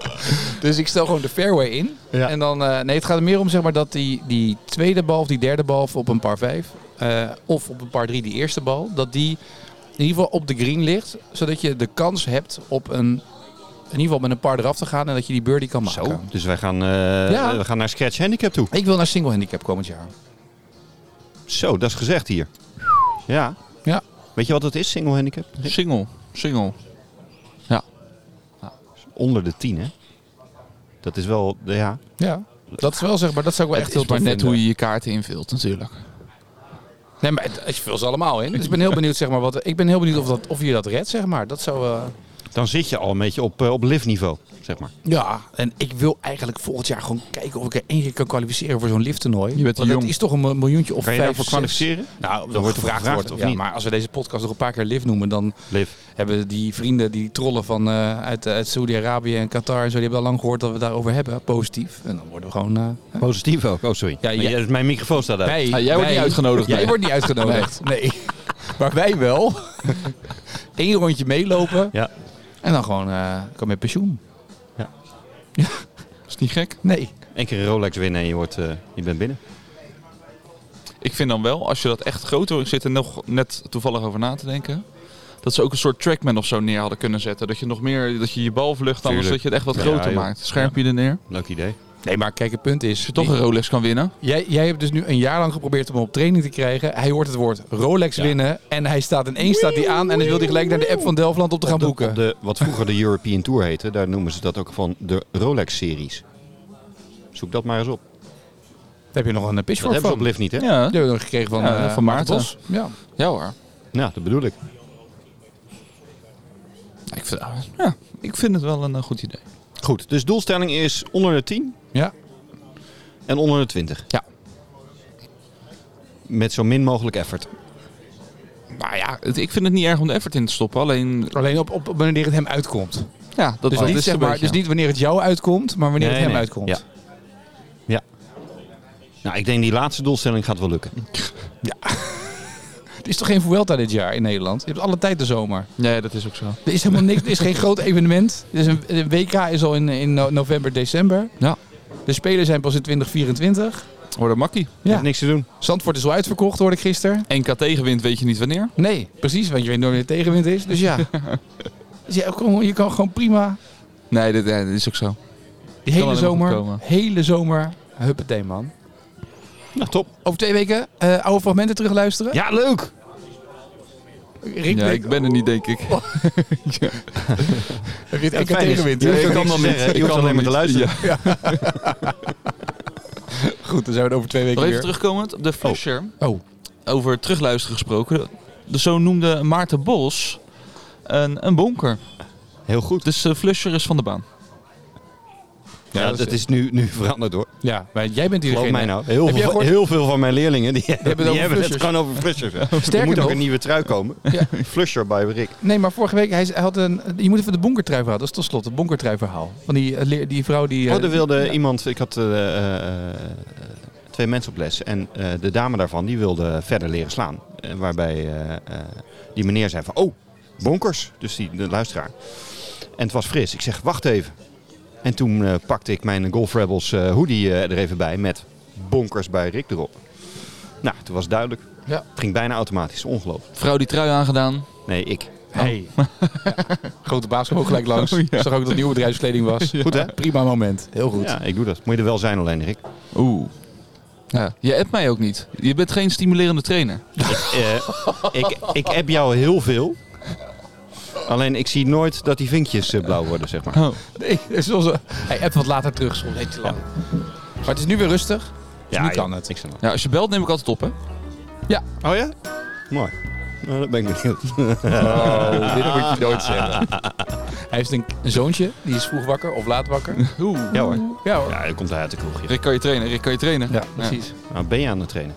S1: dus ik stel gewoon de fairway in.
S2: Ja.
S1: En dan... eh, nee, het gaat er meer om zeg maar dat die, die tweede bal of die derde bal op een par 5... of op een par 3 die eerste bal, dat die in ieder geval op de green ligt. Zodat je de kans hebt op een... In ieder geval met een par eraf te gaan en dat je die birdie kan maken.
S2: Zo. Dus wij gaan, eh,
S1: Ja.
S2: we gaan naar scratch handicap toe.
S1: Ik wil naar single handicap komend jaar.
S2: Zo, dat is gezegd hier. Ja.
S1: Ja.
S2: Weet je wat het is, single handicap?
S3: Single. Single.
S2: Onder de 10, hè? Dat is wel, ja.
S1: Ja, dat is wel zeg maar, dat zou ik wel
S3: Het
S1: echt heel
S3: is maar
S1: tof
S3: net
S1: vinden.
S3: hoe je je kaarten invult natuurlijk.
S1: Nee, maar het, het vult ze allemaal in. Dus ik ben heel benieuwd, zeg maar, wat, ik ben heel benieuwd of, dat, of je dat redt, zeg maar. Dat zou... eh,
S2: Dan zit je al een beetje op, eh, op liftniveau, zeg maar.
S1: Ja, en ik wil eigenlijk volgend jaar gewoon kijken of ik er één keer kan kwalificeren voor zo'n lifttoernooi.
S3: Je bent te
S1: Want dat
S3: jong.
S1: is toch een miljoentje of
S2: Kan je
S1: vijf,
S2: daarvoor
S1: zes.
S2: kwalificeren?
S1: Nou, dan wordt
S2: Dan wordt er
S1: gevraagd
S2: gevraagd
S1: worden.
S2: of
S1: Ja,
S2: niet?
S1: maar als we deze podcast nog een paar keer lift noemen, dan
S2: Liv.
S1: hebben die vrienden, die trollen van, eh, uit, uit Saudi-Arabië en Qatar en zo, die hebben al lang gehoord dat we het daarover hebben, positief. En dan worden we gewoon... eh,
S2: Positief ook. Oh, sorry.
S1: Ja,
S2: Ja,
S1: ja.
S2: Mijn microfoon staat uit.
S1: Wij-
S3: Ah, jij wordt
S1: wij-
S3: niet uitgenodigd,
S1: Jij
S3: nee.
S1: wordt niet uitgenodigd. Nee. Maar wij wel. *laughs* Eén rondje meelopen.
S2: Ja.
S1: En dan gewoon eh kan met pensioen.
S3: Is niet gek?
S1: Nee.
S2: Eén keer een Rolex winnen en je, wordt, eh, je bent binnen.
S3: Ik vind dan wel, als je dat echt groot wil, ik zit er nog net toevallig over na te denken. Dat ze ook een soort trackman of zo neer hadden kunnen zetten. Dat je nog meer, dat je je bal vlucht, anders
S2: Tuurlijk.
S3: dat je het echt wat
S2: Ja,
S3: groter
S2: joh.
S3: maakt. Scherp je er neer.
S2: Leuk idee.
S1: Nee, maar kijk, het punt is.
S3: Als je toch een Rolex kan winnen.
S1: jij, jij hebt dus nu een jaar lang geprobeerd om hem op training te krijgen. Hij hoort het woord Rolex
S2: Ja.
S1: winnen. En hij staat in één staat hij aan. En dan wil hij gelijk naar de app van Delftland op te gaan
S2: Op de,
S1: boeken.
S2: op de, wat vroeger de European Tour heette, daar noemen ze dat ook van de Rolex-series. Zoek dat maar eens op.
S1: Daar heb je nog een eh,
S2: Dat
S1: pitchfork
S2: hebben
S1: van.
S2: ze op Liv niet, hè?
S3: Ja,
S1: Die hebben we nog gekregen van,
S3: Ja,
S1: eh,
S3: van Maarten.
S1: Bos. Ja.
S3: ja hoor.
S2: Nou, dat bedoel ik.
S3: Ik vind, ja, ik vind het wel een eh, goed idee.
S2: Goed, dus doelstelling is onder de 10
S1: ja.
S2: en onder de 20.
S1: Ja.
S2: Met zo min mogelijk effort.
S3: Nou ja, het- ik vind het niet erg om de effort in te stoppen. Alleen,
S1: Alleen op, op, op wanneer het hem uitkomt.
S3: ja, dat,
S1: Dus,
S3: dat
S1: niet,
S3: is
S1: zeg
S3: een
S1: maar,
S3: beetje-
S1: dus niet wanneer het jou uitkomt, maar wanneer het
S2: Nee,
S1: hem
S2: nee.
S1: uitkomt.
S2: Ja. ja. Nou, ik denk die laatste doelstelling gaat wel lukken.
S1: Er is toch geen Vuelta dit jaar in Nederland? Je hebt alle tijd de zomer.
S3: Nee, dat is ook zo.
S1: Er is helemaal niks. Er is geen groot evenement. Er is een, een WK is al in, in no- november, december.
S3: Ja.
S1: De Spelen zijn pas in 2024.
S3: Wordt een makkie.
S2: Je
S1: Ja.
S2: hebt niks te doen.
S1: Zandvoort is wel uitverkocht, hoorde ik gisteren.
S3: NK tegenwind weet je niet wanneer.
S1: Nee, precies, want je weet nooit wanneer het tegenwind is. Dus ja. *laughs* dus ja kom, je kan gewoon prima
S3: Nee, dit, ja, dit is ook zo.
S1: die
S3: Kan
S1: hele
S3: alleen maar goed
S1: zomer,
S3: komen.
S1: hele zomer, huppatee man.
S2: Nou, top.
S1: Over twee weken eh, oude fragmenten terugluisteren.
S2: Ja, leuk!
S1: Rick,
S3: ja,
S1: denkt,
S3: ik ben er niet, denk ik.
S1: Heb je het enkel
S2: Fijn is.
S1: tegenwind?
S2: Je
S1: Ja,
S2: hoeft
S1: ik kan
S2: ook
S1: dan
S2: niks te
S1: niet.
S2: zeggen. Je hoeft
S3: kan
S2: alleen maar te
S3: nog niet.
S2: luisteren.
S1: Goed, dan zijn we er over twee weken
S3: Nog even
S1: weer.
S3: terugkomend op de Flusher.
S1: Oh,
S3: Over terugluisteren gesproken. De, zo noemde Maarten Bos een, een bonker.
S2: Heel goed.
S3: Dus de Flusher is van de baan.
S2: Ja,
S1: Ja,
S2: dat,
S1: dat is-
S2: is nu, nu veranderd hoor.
S1: ja. Maar jij bent
S2: Geloof
S1: diegene.
S2: mij nou. Heel
S1: Heb jij
S2: veel,
S1: gehoord-
S2: heel veel van mijn leerlingen die, hebben-
S1: het
S2: die
S1: over
S2: hebben het
S1: flushers.
S2: gewoon over flushers. er
S1: Sterker
S2: moet ook
S1: nog-
S2: een nieuwe trui komen. *laughs*
S1: Ja.
S2: Flusher bij Rick.
S1: Nee, maar vorige week, hij zei- hij had een, je moet even de bonkertruiverhaal, dat is tot slot, het bonkertruiverhaal. Van die, eh, leer- die vrouw die... eh,
S2: Oh, er wilde
S1: ja.
S2: iemand, ik had eh, eh, eh, twee mensen op les en eh, de dame daarvan die wilde verder leren slaan. Eh, waarbij eh, eh, die meneer zei van, oh, bonkers, dus die de luisteraar. En het was fris. Ik zeg, wacht even. En toen eh, pakte ik mijn Golf Rebels eh, hoodie eh, er even bij met bonkers bij Rick erop. Nou, toen was het duidelijk.
S1: Ja.
S2: Het ging bijna automatisch, ongelooflijk.
S3: Vrouw die trui aangedaan.
S2: Nee, ik. Oh,
S1: Hey. Ja. Grote baas kwam ook *laughs* gelijk langs.
S3: Oh, ja.
S1: Zag ook dat nieuwe bedrijfskleding *laughs* was.
S2: Goed hè?
S1: Prima moment. Heel goed.
S2: *laughs* Ja, ik doe dat. Moet je er wel zijn alleen, Rick.
S3: Oeh. Ja, je appt mij ook niet. Je bent geen stimulerende trainer.
S2: Eh, ik, ik app jou heel veel. Alleen ik zie nooit dat die vinkjes eh, blauw worden, zeg maar.
S3: Oh.
S1: *laughs* Nee, zoals, eh, hij appt wat later terug soms. Heet te lang. Maar het is nu weer rustig. Dus nu kan het.
S2: Niks aan
S3: Ja, als je belt neem ik altijd op, hè?
S2: de hand. Oh ja? Mooi. Nou, dat ben ik benieuwd.
S1: Oh, dit moet je nooit zeggen. *laughs* Hij heeft een, een zoontje. Die is vroeg wakker of laat wakker.
S3: Oeh.
S2: Ja hoor.
S1: Ja hoor.
S2: Ja, dat komt hij uit de kroeg. joh.
S3: Rick kan je trainen, Rick kan je trainen.
S1: Ja, precies.
S2: Nou, ben je aan het trainen?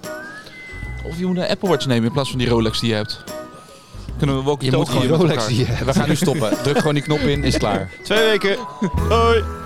S3: Of je moet een Apple Watch nemen in plaats van die Rolex die je hebt. Kunnen we ook
S1: Je moet gewoon
S3: gewoon
S1: Rolex. die- We gaan nu stoppen. Druk gewoon die knop in. Is klaar.
S2: Twee weken. Hoi.